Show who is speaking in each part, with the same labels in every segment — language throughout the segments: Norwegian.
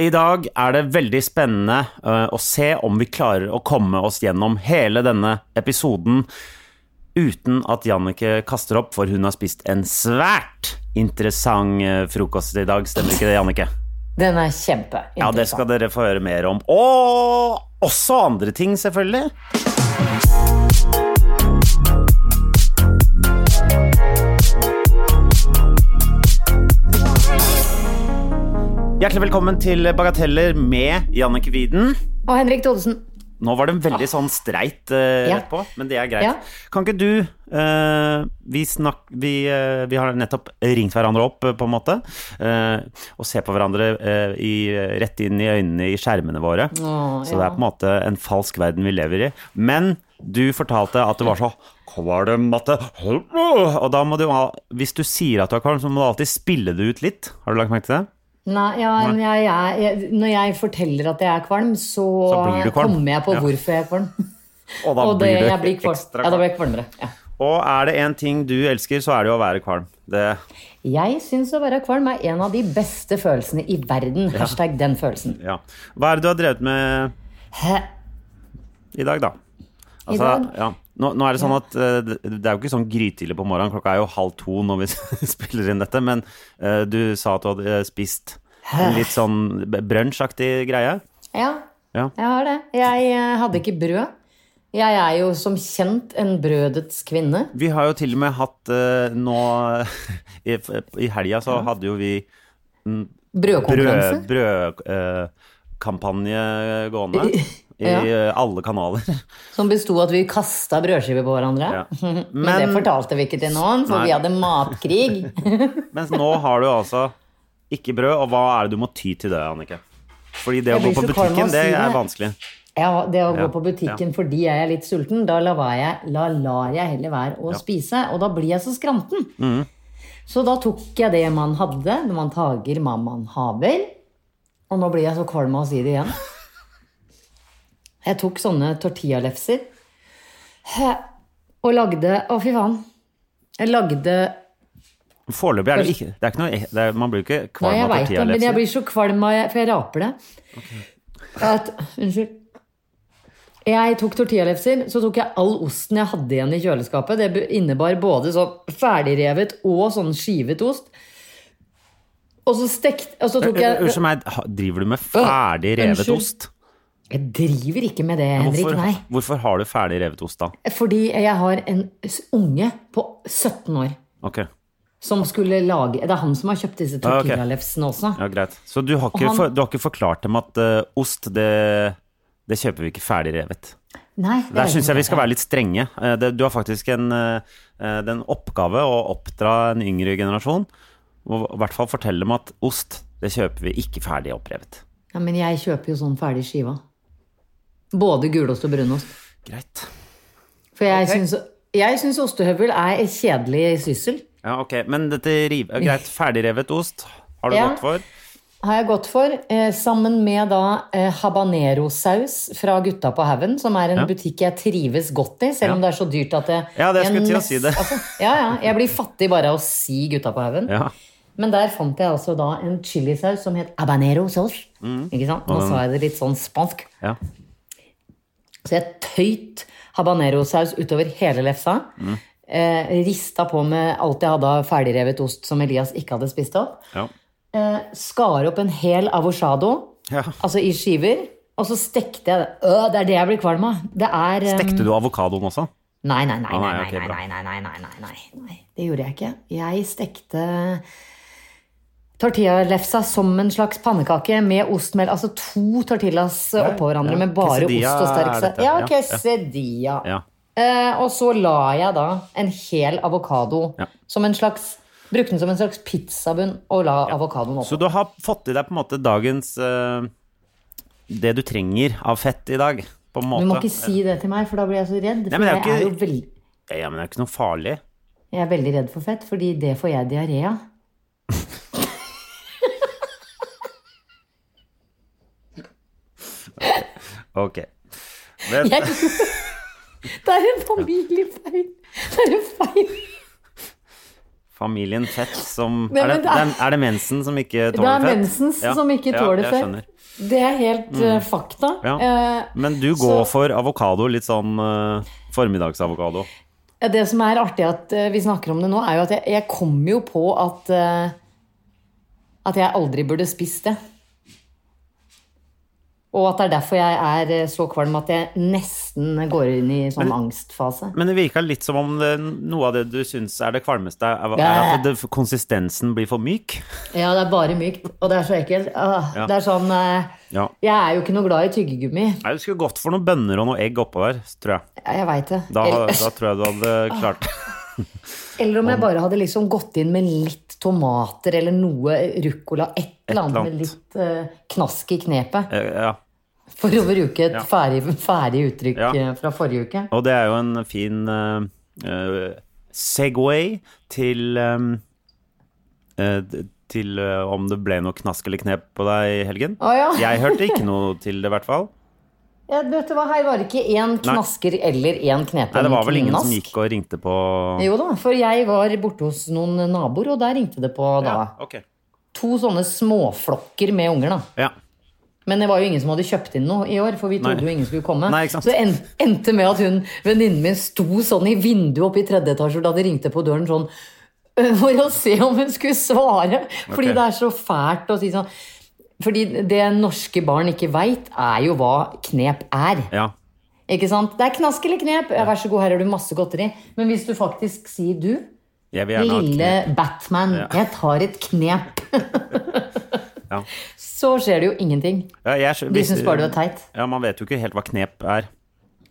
Speaker 1: I dag er det veldig spennende eh, å se om vi klarer å komme oss gjennom hele denne episoden uten at Jannicke kaster opp, for hun har spist en svært interessant eh, frokost i dag. Stemmer ikke det, Jannicke?
Speaker 2: Den er kjempe.
Speaker 1: Ja, det skal dere få høre mer om. Og også andre ting, selvfølgelig. Hjertelig velkommen til Bagateller med Jannicke Wieden.
Speaker 2: Og Henrik Thodesen.
Speaker 1: Nå var den veldig sånn streit eh,
Speaker 2: Ah. Ja.
Speaker 1: rett på, men det er greit.
Speaker 2: Ja.
Speaker 1: Kan ikke du eh, vi, snakk, vi, eh, vi har nettopp ringt hverandre opp, eh, på en måte, eh, og ser på hverandre eh, i, rett inn i øynene i skjermene våre.
Speaker 2: Å,
Speaker 1: Så det er på en måte en falsk verden vi lever i. Men du fortalte at det var så kvalm at det Og da må du ha Hvis du sier at du er kvalm, så må du alltid spille det ut litt. Har du lagt merke til det?
Speaker 2: Nei, ja, men Jeg, jeg, jeg, når jeg forteller at jeg er kvalm, så,
Speaker 1: Så blir du kvalm.
Speaker 2: kommer jeg på
Speaker 1: Ja.
Speaker 2: hvorfor jeg er kvalm.
Speaker 1: Og da
Speaker 2: og det,
Speaker 1: blir du
Speaker 2: jeg blir kvalm.
Speaker 1: ekstra
Speaker 2: Ja, da
Speaker 1: kvalm.
Speaker 2: blir jeg kvalmere. Ja.
Speaker 1: Og er det én ting du elsker, så er det jo å være kvalm. Det
Speaker 2: Jeg syns å være kvalm er en av de beste følelsene i verden. Hashtag den følelsen.
Speaker 1: Ja. Hva er det du har drevet med
Speaker 2: Hæ?
Speaker 1: i dag, da? Altså,
Speaker 2: dag?
Speaker 1: Ja. Nå, nå er det sånn at eh, det det er jo ikke sånn grytidlig på morgenen, klokka er jo halv to når vi spiller inn dette, men eh, du sa at du hadde eh, spist en litt sånn b- brunsjaktig greie.
Speaker 2: Ja,
Speaker 1: Ja.
Speaker 2: jeg har det. Jeg eh, hadde ikke brød. Jeg er jo som kjent en brødets kvinne.
Speaker 1: Vi har jo til og med hatt eh, nå I, i helga så hadde jo vi
Speaker 2: Brødkonkurranse.
Speaker 1: brødkampanje brød, eh, kampanje gående i
Speaker 2: Ja.
Speaker 1: eh, alle kanaler.
Speaker 2: Som besto at vi kasta brødskiver på hverandre.
Speaker 1: Ja.
Speaker 2: Men, det
Speaker 1: Men-
Speaker 2: fortalte vi ikke til noen, for
Speaker 1: Nei.
Speaker 2: vi hadde matkrig.
Speaker 1: Mens nå har du altså ikke brød, og hva er det du må ty til det, Annike? Fordi det å
Speaker 2: Jeg
Speaker 1: gå
Speaker 2: blir
Speaker 1: på
Speaker 2: så kvalm av
Speaker 1: butikken,
Speaker 2: å
Speaker 1: det
Speaker 2: si
Speaker 1: er
Speaker 2: det.
Speaker 1: vanskelig.
Speaker 2: Ja, det å gå
Speaker 1: Ja,
Speaker 2: på butikken fordi jeg er litt sulten, da lar jeg, la, lar jeg heller være å spise. Og da blir jeg så skranten.
Speaker 1: Mm.
Speaker 2: Så da tok jeg det man hadde, når man tager hva man haver. Og nå blir jeg så kvalm av å si det igjen. Jeg tok sånne tortillalefser og lagde Å, fy faen. Jeg lagde
Speaker 1: Foreløpig er det ikke det er ikke noe, det er, Man blir jo ikke
Speaker 2: Nei,
Speaker 1: kvalm
Speaker 2: jeg
Speaker 1: av liksom.
Speaker 2: veit det, men jeg
Speaker 1: tortillalefser.
Speaker 2: blir så kvalm av For jeg raper det. At, unnskyld. Jeg tok tortillalefser, så tok jeg all osten jeg hadde igjen i kjøleskapet. Det innebar både sånn ferdigrevet og sånn skivet ost. Og så stekt Og så tok jeg
Speaker 1: Eh, Unnskyld meg, ha- driver du med ferdig revet
Speaker 2: Unnskyld.
Speaker 1: ost?
Speaker 2: Jeg driver ikke med det, Henrik.
Speaker 1: Hvorfor,
Speaker 2: Nei.
Speaker 1: hvorfor har du ferdig revet ost, da?
Speaker 2: Fordi jeg har en s- unge på 17 år
Speaker 1: Ok,
Speaker 2: som skulle lage Det er han som har kjøpt disse
Speaker 1: Ah, ok.
Speaker 2: tortillalefsene også.
Speaker 1: ja, greit. Så du har ikke,
Speaker 2: han-
Speaker 1: for, du har ikke forklart dem at eh, ost, det, det kjøper vi ikke ferdig revet?
Speaker 2: Nei,
Speaker 1: Der syns jeg vi skal være
Speaker 2: være
Speaker 1: litt strenge. Eh, det- Du har faktisk en, eh, eh, det er en oppgave å oppdra en yngre generasjon. Og i hvert fall fortelle dem at ost, det kjøper vi ikke ferdig opprevet.
Speaker 2: Ja, men jeg kjøper jo sånn ferdig skiva. Både gulost og brunost.
Speaker 1: Greit.
Speaker 2: For jeg syns, jeg syns ostehøvel er et kjedelig syssel.
Speaker 1: Ja, ok. Men dette riv... ja, Greit, ferdigrevet ost har du
Speaker 2: Ja.
Speaker 1: gått for.
Speaker 2: Har jeg gått for, eh, sammen med da eh, habanero-saus fra Gutta på haugen, som er en butikk jeg trives godt i, selv om det er så dyrt at det
Speaker 1: Ja, det
Speaker 2: en
Speaker 1: skulle til å
Speaker 2: mess-
Speaker 1: si det.
Speaker 2: altså, ja, ja. Jeg blir fattig bare av å si Gutta på haugen.
Speaker 1: Ja.
Speaker 2: Men der fant jeg altså da en chilisaus som het habanero-saus.
Speaker 1: Mm.
Speaker 2: Ikke sant? Nå sa jeg det litt sånn spansk.
Speaker 1: Ja.
Speaker 2: Så jeg tøyt habanerosaus utover hele lefsa. Eh, rista på med alt jeg hadde av ferdigrevet ost som Elias ikke hadde spist opp.
Speaker 1: Ja.
Speaker 2: Eh, skar opp en hel avocado,
Speaker 1: Ja.
Speaker 2: altså i skiver. Og så stekte jeg det. Øh, det er det jeg blir kvalm av. Det er eh,
Speaker 1: Stekte du avokadoen også?
Speaker 2: Nei, nei, nei,
Speaker 1: Ah,
Speaker 2: nei,
Speaker 1: nei,
Speaker 2: nei,
Speaker 1: ok,
Speaker 2: nei,
Speaker 1: bra.
Speaker 2: nei, nei, nei, nei, nei, nei, nei. Det gjorde jeg ikke. Jeg stekte tortillalefsa som en slags pannekake med ostmel. Altså to tortillas eh, oppå hverandre
Speaker 1: ja.
Speaker 2: med bare
Speaker 1: Quesadilla
Speaker 2: ost og sterk
Speaker 1: er dette,
Speaker 2: saus. Ja,
Speaker 1: ja, ja.
Speaker 2: quesadilla.
Speaker 1: Ja.
Speaker 2: Eh, og så la jeg da en hel avokado
Speaker 1: Ja.
Speaker 2: som en slags Brukte den som en slags pizzabunn og la avokadoen
Speaker 1: Så
Speaker 2: oppå.
Speaker 1: du har fått i deg på en måte dagens eh, Det du trenger av fett i dag, på en måte.
Speaker 2: Du må ikke si det til meg, for da blir jeg så redd. For
Speaker 1: men det er jo
Speaker 2: jeg, er
Speaker 1: ikke-
Speaker 2: jo veld...
Speaker 1: Ja, men det er jo ikke noe farlig.
Speaker 2: jeg er veldig redd for fett, fordi det får jeg diaré av.
Speaker 1: Ok. Men,
Speaker 2: Jeg tror- Det er en familiefeil. Det er en feil.
Speaker 1: Familien Fett som
Speaker 2: Nei,
Speaker 1: er, det,
Speaker 2: men det er-
Speaker 1: det er- er det mensen som ikke
Speaker 2: Det
Speaker 1: tåler
Speaker 2: er
Speaker 1: fett?
Speaker 2: mensen som ikke
Speaker 1: ja,
Speaker 2: tåler
Speaker 1: jeg
Speaker 2: fett.
Speaker 1: Skjønner.
Speaker 2: Det er helt eh, fakta.
Speaker 1: Mm. Ja.
Speaker 2: Eh,
Speaker 1: Men du går
Speaker 2: Så-
Speaker 1: for avokado, litt sånn eh, formiddagsavokado.
Speaker 2: Ja, Det som er artig at eh, vi snakker om det nå, er jo at jeg, jeg kom jo på at eh, At jeg aldri burde spist det. Og at det er derfor jeg er eh, så kvalm at jeg nesten går inn i sånn angstfase.
Speaker 1: Men det virka litt som om det, noe av det du syns er det kvalmeste, er, er at det, konsistensen blir for myk.
Speaker 2: Ja, det er bare mykt, og det er så ekkelt. Ah,
Speaker 1: Ja.
Speaker 2: Det er sånn eh,
Speaker 1: Ja.
Speaker 2: Jeg er jo ikke noe glad i tyggegummi.
Speaker 1: Nei, Du skulle gått for noen bønner og noe egg oppå der, tror jeg.
Speaker 2: Ja, Jeg veit det.
Speaker 1: Da,
Speaker 2: Eller-
Speaker 1: da tror jeg du hadde klart det.
Speaker 2: Eller om jeg bare hadde liksom gått inn med litt tomater eller noe ruccola. Et eller annet
Speaker 1: eller
Speaker 2: med litt eh, knask i knepet.
Speaker 1: Eh, Ja.
Speaker 2: For å bruke et
Speaker 1: Ja.
Speaker 2: ferdig, ferdig uttrykk
Speaker 1: Ja.
Speaker 2: eh, fra forrige uke.
Speaker 1: Og det er jo en fin eh, eh, segway til eh, eh, til eh, om det ble noe knask eller knep på deg i helgen.
Speaker 2: Å ja.
Speaker 1: Jeg hørte ikke noe til det, i hvert fall.
Speaker 2: Ja, vet du hva, Her var det ikke én knasker eller én knepen
Speaker 1: Nei, det var vel ingen som
Speaker 2: knask.
Speaker 1: gikk og ringte på
Speaker 2: Jo da, for jeg var borte hos noen naboer, og der ringte det på da.
Speaker 1: Ja, ok.
Speaker 2: To sånne småflokker med unger, da.
Speaker 1: Ja.
Speaker 2: Men det var jo ingen som hadde kjøpt inn noe i år, for vi trodde
Speaker 1: Nei.
Speaker 2: jo ingen skulle komme.
Speaker 1: Nei, ikke sant.
Speaker 2: Så det en, endte med at hun, venninnen min sto sånn i vinduet oppe i tredje etasje da det ringte på døren sånn øh, for å se om hun skulle svare. Fordi
Speaker 1: Ok.
Speaker 2: det er så fælt å si sånn. Fordi det norske barn ikke veit, er jo hva knep er.
Speaker 1: ja.
Speaker 2: Ikke sant? Det er knask eller knep. Ja, vær så god, her har du masse godteri. Men hvis du faktisk sier du,
Speaker 1: Jeg vil gjerne ha
Speaker 2: lille
Speaker 1: knep.
Speaker 2: Batman,
Speaker 1: Ja.
Speaker 2: jeg tar et knep,
Speaker 1: Ja.
Speaker 2: så skjer det jo ingenting.
Speaker 1: Ja, jeg skjø-
Speaker 2: De
Speaker 1: hvis-
Speaker 2: syns bare du er teit.
Speaker 1: Ja, man vet jo ikke helt hva knep er.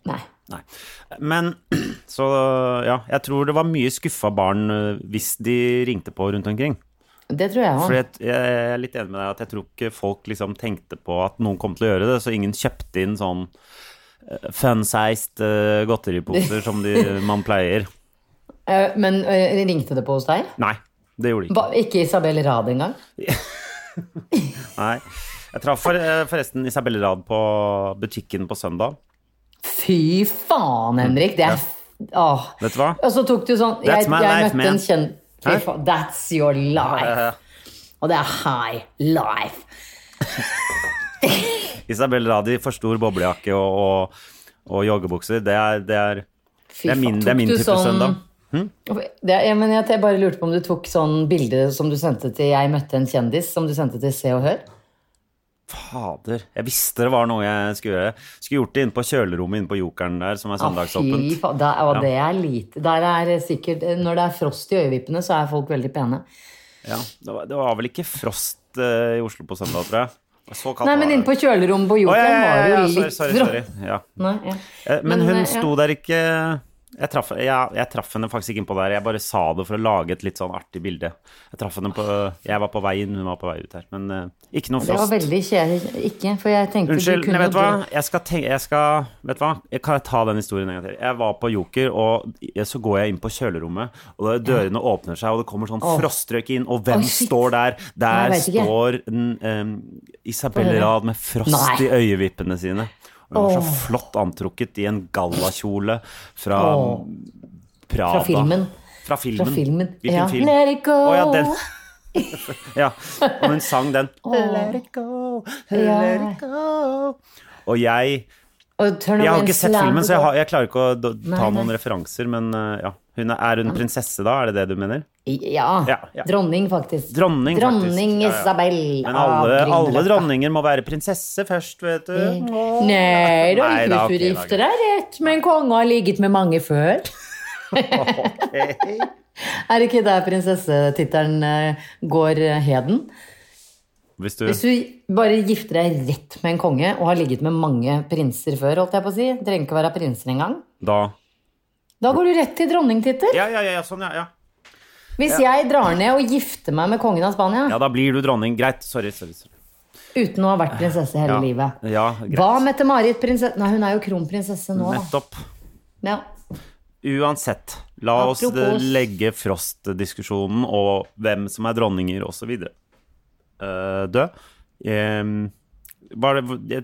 Speaker 2: Nei.
Speaker 1: Nei. Men så ja, jeg tror det var mye skuffa barn eh, hvis de ringte på rundt omkring.
Speaker 2: Det tror jeg òg.
Speaker 1: For jeg, jeg er litt enig med deg at jeg tror ikke folk liksom tenkte på at noen kom til å gjøre det, så ingen kjøpte inn sånn eh, fun-sized eh, godteriposer som de, man pleier.
Speaker 2: Eh, Men eh, ringte det på hos deg?
Speaker 1: Nei, det gjorde de ikke.
Speaker 2: Ba, ikke Isabel Rad engang?
Speaker 1: Nei. Jeg traff for, eh, forresten Isabelle Rad på butikken på søndag.
Speaker 2: Fy faen, Henrik! Det er Åh.
Speaker 1: Mm, Vet du hva?
Speaker 2: Og så tok du sånn Jeg,
Speaker 1: That's my
Speaker 2: jeg
Speaker 1: life,
Speaker 2: møtte
Speaker 1: man.
Speaker 2: en kjent Fy
Speaker 1: Hæ?
Speaker 2: faen, That's your life. Og det er high life.
Speaker 1: Isabelle Rad i for stor boblejakke og, og, og joggebukser, det er, det er
Speaker 2: Fy
Speaker 1: Det er min-
Speaker 2: faen.
Speaker 1: det er
Speaker 2: Tok
Speaker 1: min
Speaker 2: du sånn-
Speaker 1: type søndag.
Speaker 2: Det, ja, men jeg, jeg bare lurte på om du tok sånn bilde som du sendte til Jeg møtte en kjendis, som du sendte til Se og Hør?
Speaker 1: Fader, jeg visste det var noe jeg skulle gjøre. Skulle gjort det inne på kjølerommet inne på Jokeren der, som er
Speaker 2: Ah,
Speaker 1: søndagsåpent.
Speaker 2: fy faen, der, og
Speaker 1: Ja.
Speaker 2: det er lite der er sikkert, Når det er frost i øyevippene, så er folk veldig pene.
Speaker 1: Ja, det, var, det var vel ikke frost eh, i Oslo på søndag, tror jeg. Så kaldt
Speaker 2: Nei,
Speaker 1: var
Speaker 2: men
Speaker 1: det.
Speaker 2: inne på kjølerommet på
Speaker 1: Å, ja,
Speaker 2: Jokeren
Speaker 1: ja,
Speaker 2: var det
Speaker 1: ja,
Speaker 2: jo
Speaker 1: ja, sorry,
Speaker 2: litt
Speaker 1: sorry, sorry. Ja.
Speaker 2: Nei, ja.
Speaker 1: Eh, Men
Speaker 2: Men,
Speaker 1: hun
Speaker 2: eh, ja.
Speaker 1: sto der ikke jeg traff, ja, jeg traff henne faktisk ikke innpå der. Jeg bare sa det for å lage et litt sånn artig bilde. Jeg traff henne på Jeg var på vei inn, hun var på vei ut her. Men eh, ikke noe
Speaker 2: Det var
Speaker 1: frost.
Speaker 2: veldig kjedelig. Ikke, for jeg tenkte
Speaker 1: Unnskyld,
Speaker 2: du kunne
Speaker 1: nei, vet du hva?
Speaker 2: jo dra-
Speaker 1: Jeg skal tenke, jeg skal, vet du hva? Jeg kan jeg ta den historien en gang til? Jeg var på Joker, og jeg- så går jeg inn på kjølerommet, og da dørene åpner seg, og det kommer sånn
Speaker 2: Åh.
Speaker 1: frostrøyk inn, og hvem
Speaker 2: Oi, shit.
Speaker 1: står der? Der
Speaker 2: Nei, jeg vet ikke.
Speaker 1: står en, em, Isabelle
Speaker 2: høre.
Speaker 1: Rad med frost i
Speaker 2: Nei.
Speaker 1: øyevippene sine. Og hun var så
Speaker 2: Åh.
Speaker 1: flott antrukket i en gallakjole fra
Speaker 2: Åh.
Speaker 1: Prada.
Speaker 2: Fra filmen.
Speaker 1: Fra filmen.
Speaker 2: Fra filmen.
Speaker 1: Hvilken
Speaker 2: Ja.
Speaker 1: film?
Speaker 2: Let it go.
Speaker 1: Å, ja, den. ja, og hun sang den. Let it go, let
Speaker 2: Ja.
Speaker 1: it go. Og jeg
Speaker 2: Og turn
Speaker 1: Jeg har
Speaker 2: around
Speaker 1: ikke sett
Speaker 2: slam.
Speaker 1: filmen, så jeg, har, jeg klarer ikke å do- ta
Speaker 2: Nei, nei.
Speaker 1: noen referanser, men eh, ja. Hun er, er hun prinsesse, da? Er det det du mener?
Speaker 2: ja.
Speaker 1: Ja, ja.
Speaker 2: Dronning, faktisk.
Speaker 1: Dronning, faktisk.
Speaker 2: Dronning
Speaker 1: Ja, ja.
Speaker 2: Isabel.
Speaker 1: Men
Speaker 2: av
Speaker 1: alle, alle
Speaker 2: Grünerløkka.
Speaker 1: dronninger må være prinsesse først, vet du. Åh.
Speaker 2: Nei da,
Speaker 1: Nei,
Speaker 2: ikke
Speaker 1: da,
Speaker 2: hvis du
Speaker 1: ok, da,
Speaker 2: gifter deg rett, men kongen har ligget med mange før.
Speaker 1: Ok.
Speaker 2: Er det ikke der prinsessetittelen eh, går eh, heden?
Speaker 1: Hvis du
Speaker 2: Hvis du bare gifter deg rett med en konge og har ligget med mange prinser før, holdt jeg på å si, trenger ikke være prinser engang,
Speaker 1: da
Speaker 2: da går du rett til dronningtittel.
Speaker 1: Ja, ja, ja, ja, sånn, ja. ja.
Speaker 2: Hvis jeg drar ned og gifter meg med kongen av Spania
Speaker 1: Ja, da blir du dronning. Greit. Sorry. sorry, sorry.
Speaker 2: uten å ha vært prinsesse hele
Speaker 1: Ja.
Speaker 2: livet
Speaker 1: Ja, greit.
Speaker 2: Hva med Mette-Marit prinsesse? Nei, hun er jo kronprinsesse nå, da.
Speaker 1: Nettopp.
Speaker 2: Ja.
Speaker 1: Uansett, la oss
Speaker 2: Apropos-
Speaker 1: eh, legge Frost-diskusjonen og hvem som er dronninger osv. Uh, død. Ehm, bare, jeg,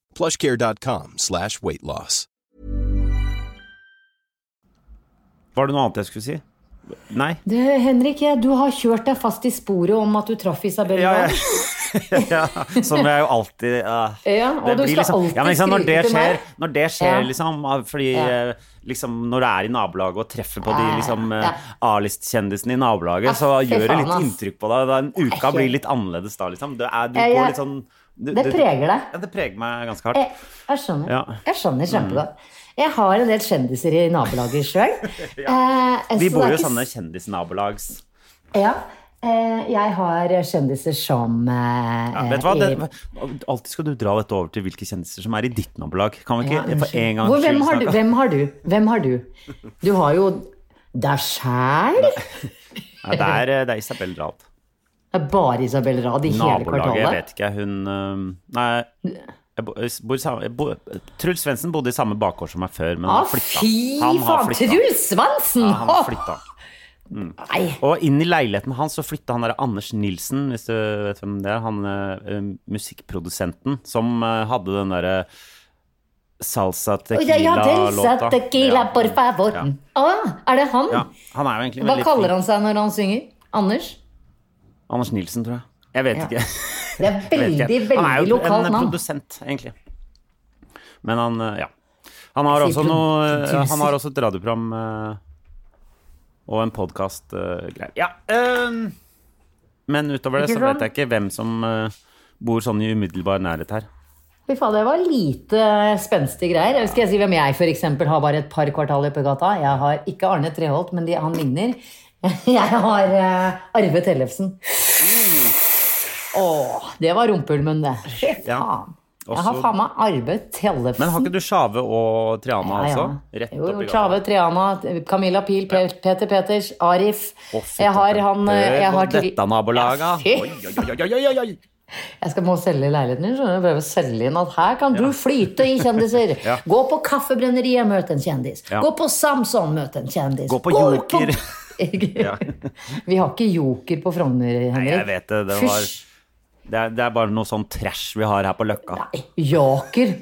Speaker 3: plushcare.com slash weight loss.
Speaker 1: var det noe annet jeg skulle si? Nei?
Speaker 2: Du, Henrik, jeg- du har kjørt deg fast i sporet om at du traff Isabel
Speaker 1: Ja,
Speaker 2: Rad.
Speaker 1: ja. ja, som jeg jo alltid eh,
Speaker 2: Ja, og
Speaker 1: det
Speaker 2: du
Speaker 1: blir liksom-
Speaker 2: skal alltid
Speaker 1: ja, men, ikke sant, når det
Speaker 2: skryte til meg.
Speaker 1: skjer, Når det skjer,
Speaker 2: Ja.
Speaker 1: liksom ah, Fordi
Speaker 2: Ja.
Speaker 1: eh, liksom, når du er i nabolaget og treffer på de
Speaker 2: Ja, ja,
Speaker 1: liksom, eh,
Speaker 2: ja.
Speaker 1: A-listkjendisene i nabolaget, så
Speaker 2: Ja, fy
Speaker 1: gjør det
Speaker 2: faen,
Speaker 1: litt
Speaker 2: ass.
Speaker 1: inntrykk på deg. Da, en uka
Speaker 2: helt-
Speaker 1: blir litt annerledes da, liksom. Du, er, du
Speaker 2: Ja,
Speaker 1: går
Speaker 2: jeg-
Speaker 1: litt sånn du,
Speaker 2: det
Speaker 1: du-
Speaker 2: preger deg. Eh,
Speaker 1: Ja, det preger meg ganske hardt.
Speaker 2: Jeg, jeg skjønner.
Speaker 1: Ja. Mm.
Speaker 2: Jeg skjønner kjempegodt. Jeg har en del kjendiser i Eh, nabolaget sjøl.
Speaker 1: Vi bor jo i sånne kjendisnabolags...
Speaker 2: Ja. Eh, Jeg har kjendiser som eh,
Speaker 1: Ja, vet du hva?
Speaker 2: i-
Speaker 1: Det, alltid skal du dra dette over til hvilke kjendiser som er i ditt nabolag. Kan vi
Speaker 2: Ja,
Speaker 1: ikke for
Speaker 2: unnskyld.
Speaker 1: en gangs
Speaker 2: Hvor, hvem,
Speaker 1: skyld
Speaker 2: har du,
Speaker 1: snakke-
Speaker 2: hvem har du? Hvem har du? Du har jo deg sjæl.
Speaker 1: Nei, det, er, eh, det er Isabel Rad.
Speaker 2: Det er bare Isabel Rad i hele
Speaker 1: Nabolaget, jeg
Speaker 2: kvartalet.
Speaker 1: vet ikke. Hun øhm, Nei. Jeg bo, jeg bor i samme, jeg bo, Truls Svendsen bodde i samme bakgård som meg før, men
Speaker 2: Å,
Speaker 1: han flytta.
Speaker 2: Ah, fy
Speaker 1: Han har
Speaker 2: faen!
Speaker 1: flytta.
Speaker 2: Truls Svansen!
Speaker 1: Ja, han har flytta.
Speaker 2: Nei.
Speaker 1: Og inn i leiligheten hans så flytta han der Anders Nilsen, hvis du vet hvem det er. Han eh, eh, musikkprodusenten som eh, hadde den derre salsa
Speaker 2: Oi, det- Ja,
Speaker 1: tequila-låta.
Speaker 2: Delsa Tequila,
Speaker 1: Ja.
Speaker 2: por favor.
Speaker 1: Ja.
Speaker 2: Å, er det han?
Speaker 1: Ja, han er jo egentlig
Speaker 2: Hva
Speaker 1: veldig
Speaker 2: kaller
Speaker 1: flink.
Speaker 2: han seg når han synger? Anders?
Speaker 1: Anders Nilsen, tror jeg. Jeg vet
Speaker 2: Ja.
Speaker 1: ikke.
Speaker 2: Det er
Speaker 1: Jeg vet
Speaker 2: veldig,
Speaker 1: ikke. Han er
Speaker 2: veldig
Speaker 1: jo en
Speaker 2: lokalt navn.
Speaker 1: produsent, egentlig. Men han, eh, ja. Han har
Speaker 2: Jeg sier
Speaker 1: også noe eh,
Speaker 2: produser.
Speaker 1: Han har også et radioprogram eh, og en podkast greier. Ja. ehm, men utover det så
Speaker 2: Ikke sant?
Speaker 1: vet jeg ikke hvem som eh, bor sånn i umiddelbar nærhet her.
Speaker 2: Fy faen, det var lite spenstige greier. Skal jeg si hvem jeg f.eks. har bare et par kvartaler oppi gata? Jeg har ikke Arne Treholt, men de, han ligner. Jeg har eh, Arve Tellefsen.
Speaker 1: Mm.
Speaker 2: Å, det var rumpeulmen, det. Fy
Speaker 1: Ja.
Speaker 2: faen. Jeg har faen meg Arve Tellefsen.
Speaker 1: Men har ikke du Sjave og Triana
Speaker 2: Ja, ja.
Speaker 1: også? Rett
Speaker 2: jo,
Speaker 1: opp i gata.
Speaker 2: Trave, Triana, Camilla Pil, Pe- Peter Peters, Arif.
Speaker 1: Å, fy
Speaker 2: jeg har
Speaker 1: faen.
Speaker 2: han eh,
Speaker 1: Hør
Speaker 2: jeg
Speaker 1: på
Speaker 2: har til-
Speaker 1: Dette nabolaget.
Speaker 2: Ja, fy
Speaker 1: Oi, oi, oi, oi, oi, oi, oi.
Speaker 2: Jeg skal må selge leiligheten din, skjønner du. Prøve å selge inn at her kan du flyte i kjendiser.
Speaker 1: Ja.
Speaker 2: Gå på Kaffebrenneriet, møt en kjendis.
Speaker 1: Ja.
Speaker 2: Gå på Samson, møt en kjendis.
Speaker 1: Gå på Joker. Ja.
Speaker 2: Vi har ikke Joker på Frogner, Henrik.
Speaker 1: Nei, jeg vet det. Det, var,
Speaker 2: Fysj.
Speaker 1: det, er, det er bare noe sånn trash vi har her på Løkka.
Speaker 2: Nei, Joker.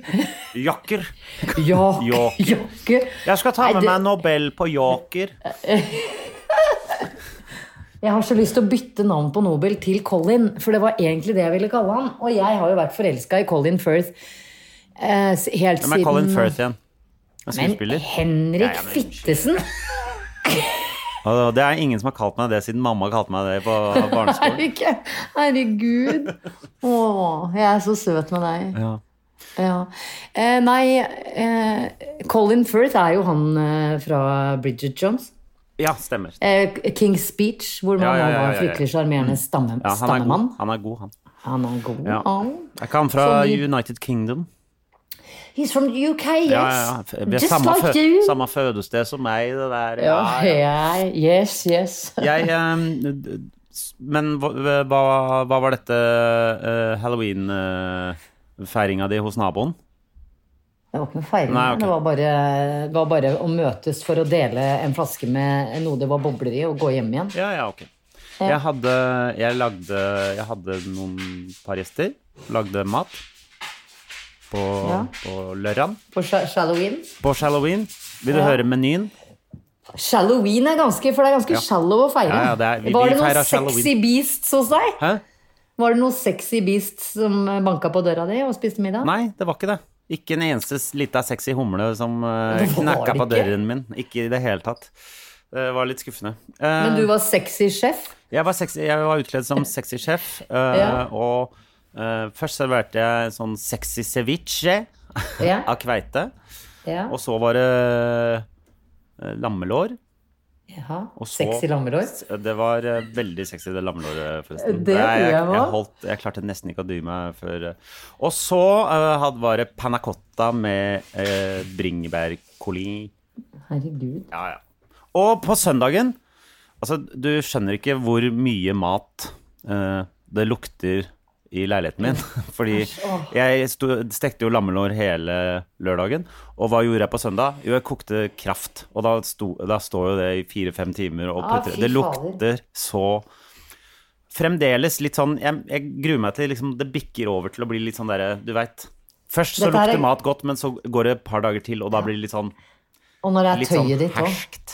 Speaker 1: Jakker.
Speaker 2: Joker.
Speaker 1: Joker.
Speaker 2: Joker.
Speaker 1: Jeg skal ta
Speaker 2: Nei,
Speaker 1: med
Speaker 2: det- Eh,
Speaker 1: meg Nobel på Joker.
Speaker 2: Jeg har så lyst til å bytte navn på Nobel til Colin, for det var egentlig det jeg ville kalle han. Og jeg har jo vært forelska i Colin Firth eh, s- helt
Speaker 1: Hvem er
Speaker 2: siden
Speaker 1: Colin Firth igjen? Han er
Speaker 2: Men
Speaker 1: Skuespiller.
Speaker 2: Henrik
Speaker 1: Ja, ja, men-
Speaker 2: Fittesen!
Speaker 1: Og det er ingen som har kalt meg det siden mamma kalte meg det på barneskolen.
Speaker 2: Herregud. Herregud. Å, jeg er så søt med deg.
Speaker 1: Ja.
Speaker 2: Ja. Eh, nei, eh, Colin Firth er jo han eh, fra Bridget Jones.
Speaker 1: ja, stemmer.
Speaker 2: Eh, King's Speech, hvor man
Speaker 1: Ja, ja, ja,
Speaker 2: nå var
Speaker 1: ja,
Speaker 2: en
Speaker 1: ja.
Speaker 2: fryktelig sjarmerende stamme,
Speaker 1: Ja, han, er god.
Speaker 2: stammemann.
Speaker 1: han er god, han.
Speaker 2: Han er god.
Speaker 1: Ja.
Speaker 2: han.
Speaker 1: Er ikke han fra
Speaker 2: Som i-
Speaker 1: United Kingdom?
Speaker 2: He's from the UK, yes.
Speaker 1: Ja, ja, ja. Vi har
Speaker 2: Just
Speaker 1: samme,
Speaker 2: like
Speaker 1: fø
Speaker 2: you.
Speaker 1: samme fødested som meg. Det der.
Speaker 2: Ja,
Speaker 1: Ja, ja.
Speaker 2: ja. Yes, yes.
Speaker 1: Jeg ehm, d- s- Men hva, hva, hva var eh, dette halloween-feiringa di hos naboen?
Speaker 2: Det var ikke noe feiring.
Speaker 1: Nei, ok.
Speaker 2: Det var bare, det var bare å møtes for å dele en flaske med noe det var bobler i, og gå hjem igjen.
Speaker 1: Ja, ja, ok. Jeg hadde, jeg lagde, jeg hadde noen par gjester, lagde mat på,
Speaker 2: Ja.
Speaker 1: på lørdagen.
Speaker 2: For sha- Shalloween
Speaker 1: På Halloween. Vil du høre menyen?
Speaker 2: Shalloween er ganske For det er ganske shallow å feire.
Speaker 1: Ja, ja, det er- vi-
Speaker 2: var
Speaker 1: vi
Speaker 2: det
Speaker 1: feirer
Speaker 2: noen sexy
Speaker 1: Shalloween.
Speaker 2: beasts hos deg?
Speaker 1: Hæ?
Speaker 2: Var det noen sexy beasts som banka på døra di og spiste middag?
Speaker 1: Nei, det var ikke det. Ikke en eneste s- lita sexy humle som eh,
Speaker 2: Det var
Speaker 1: knakka på
Speaker 2: det ikke.
Speaker 1: døren min. Ikke i det hele tatt. Det var litt skuffende. Eh,
Speaker 2: Men du var sexy sjef?
Speaker 1: Jeg var, sexy, jeg var utkledd som sexy sjef, eh,
Speaker 2: Ja.
Speaker 1: og eh, først serverte jeg sånn sexy ceviche
Speaker 2: Ja.
Speaker 1: av kveite.
Speaker 2: ja.
Speaker 1: Og så var det eh, lammelår.
Speaker 2: Jaha.
Speaker 1: Og så-
Speaker 2: Sexy lammelår?
Speaker 1: Det var eh, veldig sexy, det lammelåret, forresten.
Speaker 2: Det tror jeg
Speaker 1: jeg,
Speaker 2: var.
Speaker 1: holdt, jeg klarte nesten ikke å dy meg før eh. Og så eh, hadde, var det panna cotta med uh, bringebærcoli.
Speaker 2: Herregud.
Speaker 1: Ja, ja. Og på søndagen Altså, du skjønner ikke hvor mye mat eh, det lukter i leiligheten min. Fordi jeg sto, stekte jo lammelår hele lørdagen. Og hva gjorde jeg på søndag? Jo, jeg kokte kraft. Og da, sto, da står jo det i fire-fem timer og
Speaker 2: Ah,
Speaker 1: putter
Speaker 2: fy
Speaker 1: Det
Speaker 2: fader.
Speaker 1: lukter så Fremdeles litt sånn Jeg, jeg gruer meg til liksom, det bikker over til å bli litt sånn derre Du veit. Først så
Speaker 2: Dette her er-
Speaker 1: lukter mat godt, men så går det et par dager til, og da blir det litt sånn,
Speaker 2: Og når det er
Speaker 1: litt
Speaker 2: tøyet
Speaker 1: sånn
Speaker 2: ditt òg.
Speaker 1: herskt.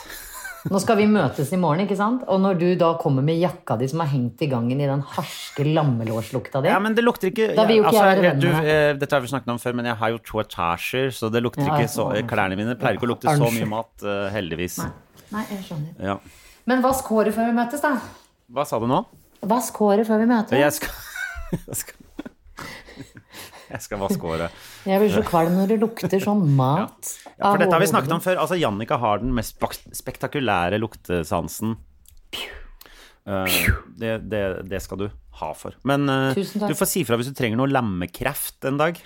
Speaker 2: Nå skal vi møtes i morgen, ikke sant? Og når du da kommer med jakka di som er hengt i gangen i den harske lammelårslukta di
Speaker 1: Ja, men det lukter ikke
Speaker 2: Da vil jo ikke jeg være venn
Speaker 1: du,
Speaker 2: med
Speaker 1: eh, Dette har vi snakket om før, men jeg har jo to etasjer, så det lukter
Speaker 2: Ja,
Speaker 1: ikke så
Speaker 2: ja.
Speaker 1: Klærne mine pleier ikke å lukte så mye mat, eh, heldigvis.
Speaker 2: Nei, jeg
Speaker 1: Ja.
Speaker 2: skjønner. Men vask håret før vi møtes, da.
Speaker 1: Hva sa du nå?
Speaker 2: Vask håret før vi møtes.
Speaker 1: Jeg skal Jeg skal, jeg skal vaske håret.
Speaker 2: Jeg blir så kvalm når det lukter sånn mat.
Speaker 1: Ja, for dette har vi snakket om før. Altså, Jannika har den mest spek- spektakulære luktesansen. Eh, det, det, det skal du ha for. Men eh,
Speaker 2: Tusen takk.
Speaker 1: du får si fra hvis du trenger noe lammekreft en dag.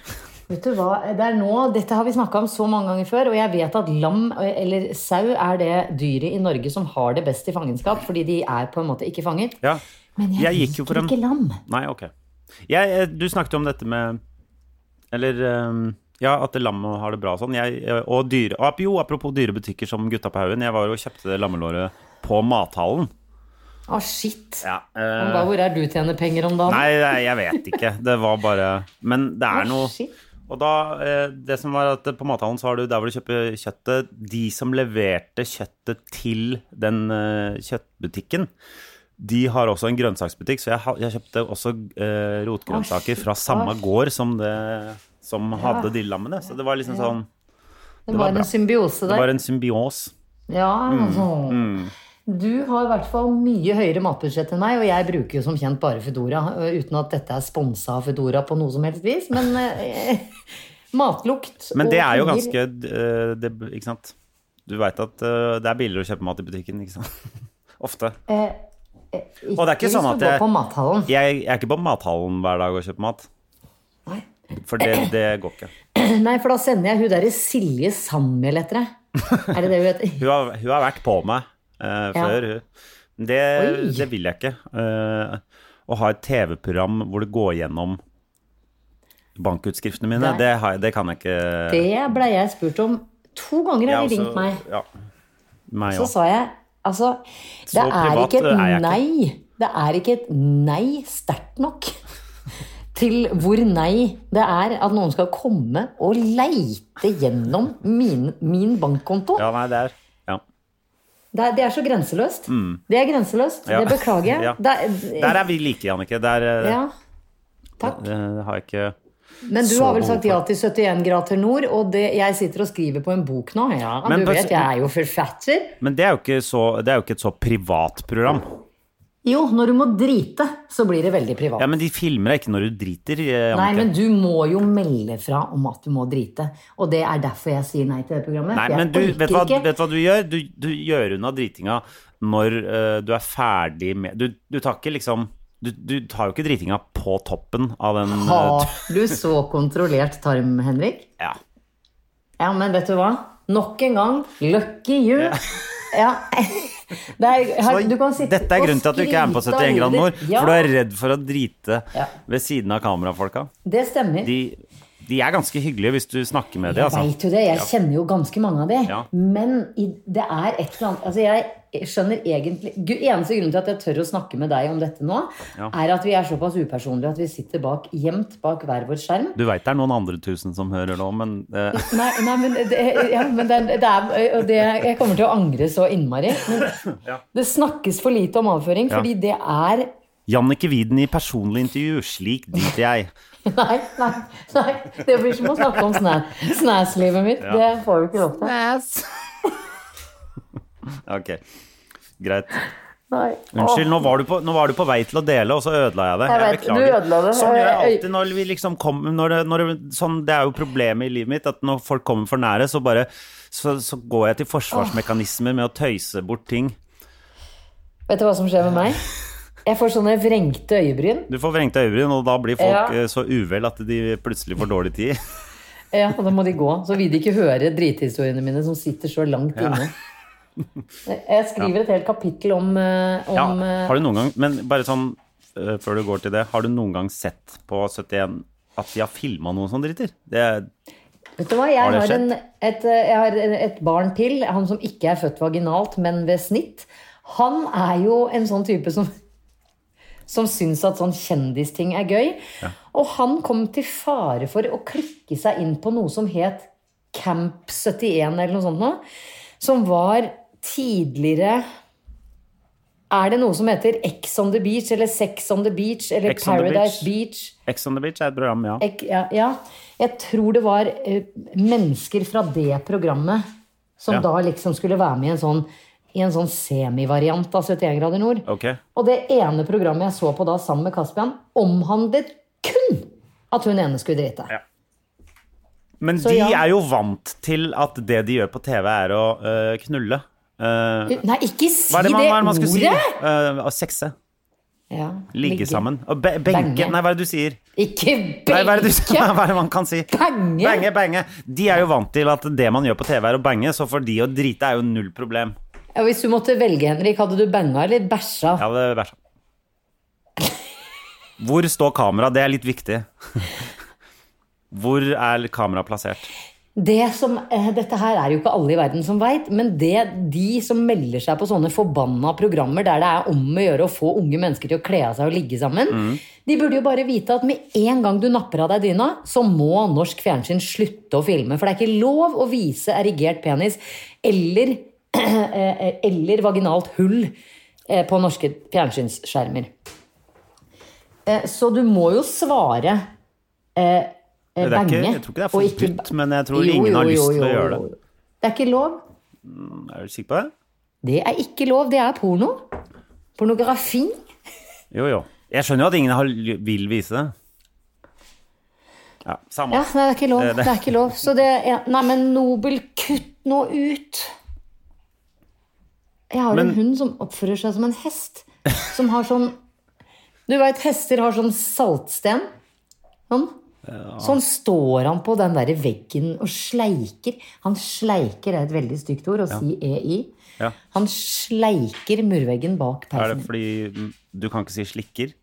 Speaker 2: Vet du hva, det er nå, Dette har vi snakka om så mange ganger før, og jeg vet at lam eller sau er det dyret i Norge som har det best i fangenskap, fordi de er på en måte ikke fanget.
Speaker 1: Ja.
Speaker 2: Men jeg,
Speaker 1: Jeg gikk jo for en-
Speaker 2: liker ikke lam.
Speaker 1: Nei, ok. Jeg, eh, du snakket jo om dette med Eller eh, ja, at lammet har det bra og sånn. Jeg, eh, og dyre, ap- jo, apropos dyrebutikker som Gutta på haugen. Jeg var jo og kjøpte det lammelåret på mathallen.
Speaker 2: Å, shit.
Speaker 1: Ja, eh,
Speaker 2: Men da, hvor er du tjener penger om dagen?
Speaker 1: nei, nei, jeg vet ikke. Det var bare Men det er noe
Speaker 2: shit.
Speaker 1: Og da, eh, det som var at På mathallen så har du der hvor du kjøper kjøttet De som leverte kjøttet til den eh, kjøttbutikken, de har også en grønnsaksbutikk. Så jeg, ha- jeg kjøpte også eh, rotgrønnsaker fra samme gård som, det, som hadde de lammene. Så det var liksom sånn
Speaker 2: det,
Speaker 1: var
Speaker 2: var
Speaker 1: bra.
Speaker 2: en symbiose
Speaker 1: Det
Speaker 2: der.
Speaker 1: var Mm, en symbios.
Speaker 2: Ja, altså. Du har i hvert fall mye høyere matbudsjett enn meg, og jeg bruker jo som kjent bare Foodora, øh, uten at dette er sponsa av Foodora på noe som helst vis, men eh, matlukt
Speaker 1: Men
Speaker 2: og
Speaker 1: det er jo
Speaker 2: penger-
Speaker 1: ganske eh, det, Ikke sant? Du veit at eh, det er billigere å kjøpe mat i butikken, ikke sant? Ofte.
Speaker 2: eh, eh,
Speaker 1: Og det er ikke
Speaker 2: hvis
Speaker 1: sånn
Speaker 2: du
Speaker 1: at
Speaker 2: går
Speaker 1: jeg-
Speaker 2: på mathallen.
Speaker 1: Jeg, jeg er ikke på mathallen hver dag og kjøper mat.
Speaker 2: Nei.
Speaker 1: For det, det går ikke.
Speaker 2: Nei, for da sender jeg hun derre Silje Sandmæl etter deg. Er det det hun heter?
Speaker 1: Hun har, hun har vært på meg eh, før, hun. Men Det,
Speaker 2: Oi.
Speaker 1: det vil jeg ikke. Eh, å ha et TV-program hvor det går gjennom bankutskriftene mine,
Speaker 2: Nei.
Speaker 1: det, har, jeg- det kan jeg ikke
Speaker 2: Det blei jeg spurt om to ganger, har
Speaker 1: Jeg også-
Speaker 2: de ringt meg.
Speaker 1: Ja, altså, meg
Speaker 2: Så
Speaker 1: også.
Speaker 2: sa jeg altså Det er
Speaker 1: privat eh,
Speaker 2: ikke
Speaker 1: er jeg
Speaker 2: et
Speaker 1: ikke.
Speaker 2: nei. Det er ikke et nei sterkt nok til hvor nei det er at noen skal komme og leite gjennom min, min bankkonto.
Speaker 1: Ja, nei, det er ja.
Speaker 2: Det, er, det er så grenseløst. Det er grenseløst.
Speaker 1: Mm. Ja.
Speaker 2: Det beklager jeg.
Speaker 1: Ja.
Speaker 2: Det er-
Speaker 1: Der er vi like, Jannicke. Der eh,
Speaker 2: ja. Takk.
Speaker 1: eh, har jeg ikke
Speaker 2: Men du
Speaker 1: Så
Speaker 2: har vel
Speaker 1: behov
Speaker 2: sagt ja til 71 grader nord, og det, jeg sitter og skriver på en bok nå. Ja,
Speaker 1: Men
Speaker 2: du
Speaker 1: på-
Speaker 2: vet, jeg er jo forfatter.
Speaker 1: Men det er jo ikke, så, det er jo ikke et så privat program.
Speaker 2: Jo, når du må drite, så blir det veldig privat.
Speaker 1: Ja, Men de filmer deg ikke når du driter. eh,
Speaker 2: Nei,
Speaker 1: Jannicke.
Speaker 2: men du må jo melde fra om at du må drite. Og det er derfor jeg sier nei til det programmet.
Speaker 1: Nei,
Speaker 2: for jeg
Speaker 1: men du, vet, du hva,
Speaker 2: orker ikke.
Speaker 1: vet du hva du gjør? Du, du gjør unna dritinga når eh, du er ferdig med Du, du tar ikke liksom du, du tar jo ikke dritinga på toppen av den eh,
Speaker 2: Har du så kontrollert tarm, Henrik?
Speaker 1: ja.
Speaker 2: Ja, men vet du hva? Nok en gang, lucky you. Ja. Det er, jeg har, du kan sitte
Speaker 1: Dette er
Speaker 2: og
Speaker 1: grunnen til at du ikke er med på
Speaker 2: skryte av
Speaker 1: 71 grader
Speaker 2: livet
Speaker 1: nord,
Speaker 2: ditt. Ja,
Speaker 1: for du er redd for å drite
Speaker 2: Ja.
Speaker 1: ved siden av kamerafolka.
Speaker 2: det stemmer.
Speaker 1: De, de er ganske hyggelige hvis du snakker med dem.
Speaker 2: Jeg
Speaker 1: Altså.
Speaker 2: vet jo det, jeg kjenner jo ganske mange av de.
Speaker 1: Ja.
Speaker 2: Men i, det er et eller annet altså Jeg skjønner egentlig Gu- Eneste grunnen til at jeg tør å snakke med deg om dette nå,
Speaker 1: Ja.
Speaker 2: er at vi er såpass upersonlige at vi sitter bak, gjemt bak hver vår skjerm.
Speaker 1: Du veit det er noen andre tusen som hører nå, men eh,
Speaker 2: Nei, nei men, det, ja, men det, er- det er og det, Jeg kommer til å angre så innmari. Men det snakkes for lite om avføring, fordi det er
Speaker 1: Jannicke Wieden i personlig intervju, slik driter jeg.
Speaker 2: Nei, nei, nei. Det blir som å snakke om sna- snæslivet mitt. Det får du ikke lov til.
Speaker 1: Ok, greit.
Speaker 2: Nei.
Speaker 1: Unnskyld, nå var, du på, nå var du på vei til å dele, og så ødela jeg det.
Speaker 2: Jeg vet, du ødela det.
Speaker 1: Sånn gjør jeg
Speaker 2: Jeg-
Speaker 1: alltid når vi liksom kommer når, det- når, det- sånn, Det er jo problemet i livet mitt, at når folk kommer for nære, så bare så, så går jeg til forsvarsmekanismer med å tøyse bort ting.
Speaker 2: Vet du hva som skjer med meg? Jeg får sånne vrengte øyebryn.
Speaker 1: Du får vrengte øyebryn, og da blir folk
Speaker 2: Ja.
Speaker 1: eh, så uvel at de plutselig får dårlig tid.
Speaker 2: Ja, og da må de gå. Så vil de ikke høre drithistoriene mine som sitter så langt inne. Jeg skriver et helt kapittel om, eh,
Speaker 1: Ja,
Speaker 2: om eh,
Speaker 1: har du noen gang Men bare sånn eh, før du går til det, har du noen gang sett på 71 at de har filma noen sånne driter? Det er
Speaker 2: Vet du hva, jeg
Speaker 1: Har
Speaker 2: har,
Speaker 1: det skjedd?
Speaker 2: en, et, eh, jeg har en- et barn til, han som ikke er født vaginalt, men ved snitt. Han er jo en sånn type som, som syns at sånn kjendisting er gøy. Og han kom til fare for å klikke seg inn på noe som het Camp 71 eller noe sånt noe. Som var tidligere Er det noe som heter X on the beach eller Sex on the beach eller
Speaker 1: Ex on the
Speaker 2: Paradise
Speaker 1: Beach.
Speaker 2: beach?
Speaker 1: Ex on the Beach er et program, ja.
Speaker 2: Jeg, ja, ja. jeg tror det var eh, mennesker fra det programmet som
Speaker 1: Ja.
Speaker 2: da liksom skulle være med i en sånn, i en sånn semivariant av 71 grader nord.
Speaker 1: Ok.
Speaker 2: Og det ene programmet jeg så på da sammen med Kaspian, omhandlet kun at hun ene skulle drite.
Speaker 1: Men
Speaker 2: Så
Speaker 1: de
Speaker 2: ja.
Speaker 1: er jo vant til at det de gjør på TV, er å øh, knulle. Eh,
Speaker 2: Nei, ikke si
Speaker 1: hva er
Speaker 2: det,
Speaker 1: det man, hva er det man skulle si?
Speaker 2: ordet!
Speaker 1: Eh, å sekse.
Speaker 2: Ja,
Speaker 1: Ligge sammen. Og be benke
Speaker 2: Bange.
Speaker 1: Nei, hva er det du sier?
Speaker 2: Ikke
Speaker 1: Nei, hva er det, du,
Speaker 2: benke!
Speaker 1: hva er det man kan si?
Speaker 2: Bange.
Speaker 1: bange! bange. De er jo vant til at det man gjør på TV, er å bange, så for de å drite er jo null problem.
Speaker 2: Ja, hvis du måtte velge, Henrik, hadde du banga eller bæsja?
Speaker 1: Ja, det er sånn. Hvor står kamera? Det er litt viktig. Hvor er kamera plassert?
Speaker 2: Det som, eh, dette her er jo ikke alle i verden som veit, men det de som melder seg på sånne forbanna programmer der det er om å gjøre å få unge mennesker til å kle av seg og ligge sammen,
Speaker 1: Mm.
Speaker 2: de burde jo bare vite at med en gang du napper av deg dyna, så må norsk fjernsyn slutte å filme. For det er ikke lov å vise erigert penis eller, eh, eller vaginalt hull eh, på norske fjernsynsskjermer. Eh, Så du må jo svare eh, eh,
Speaker 1: Det er ikke,
Speaker 2: bange,
Speaker 1: jeg tror ikke det er
Speaker 2: og ikke
Speaker 1: forbudt,
Speaker 2: ba-
Speaker 1: men jeg tror
Speaker 2: Jo,
Speaker 1: ingen har
Speaker 2: jo, jo,
Speaker 1: lyst til å
Speaker 2: jo,
Speaker 1: gjøre det.
Speaker 2: jo, jo. Det er ikke lov.
Speaker 1: Er du sikker på det?
Speaker 2: Det er ikke lov. Det er porno. Pornografi.
Speaker 1: Jo, jo. Jeg skjønner jo at ingen har, vil vise det. Ja, samme.
Speaker 2: Ja, nei, det er ikke lov.
Speaker 1: Det- det-
Speaker 2: Det er ikke lov. Så det er Nei, men Nobel, kutt nå ut! Jeg har
Speaker 1: Men-
Speaker 2: en hund som oppfører seg som en hest. Som har sånn Du veit, hester har sånn saltsten. Sånn. Sånn står han på den derre veggen og sleiker. Han sleiker er et veldig stygt ord å si ei.
Speaker 1: Ja.
Speaker 2: Han sleiker murveggen bak
Speaker 1: Er
Speaker 2: peisen.
Speaker 1: det fordi mm, du kan ikke si slikker?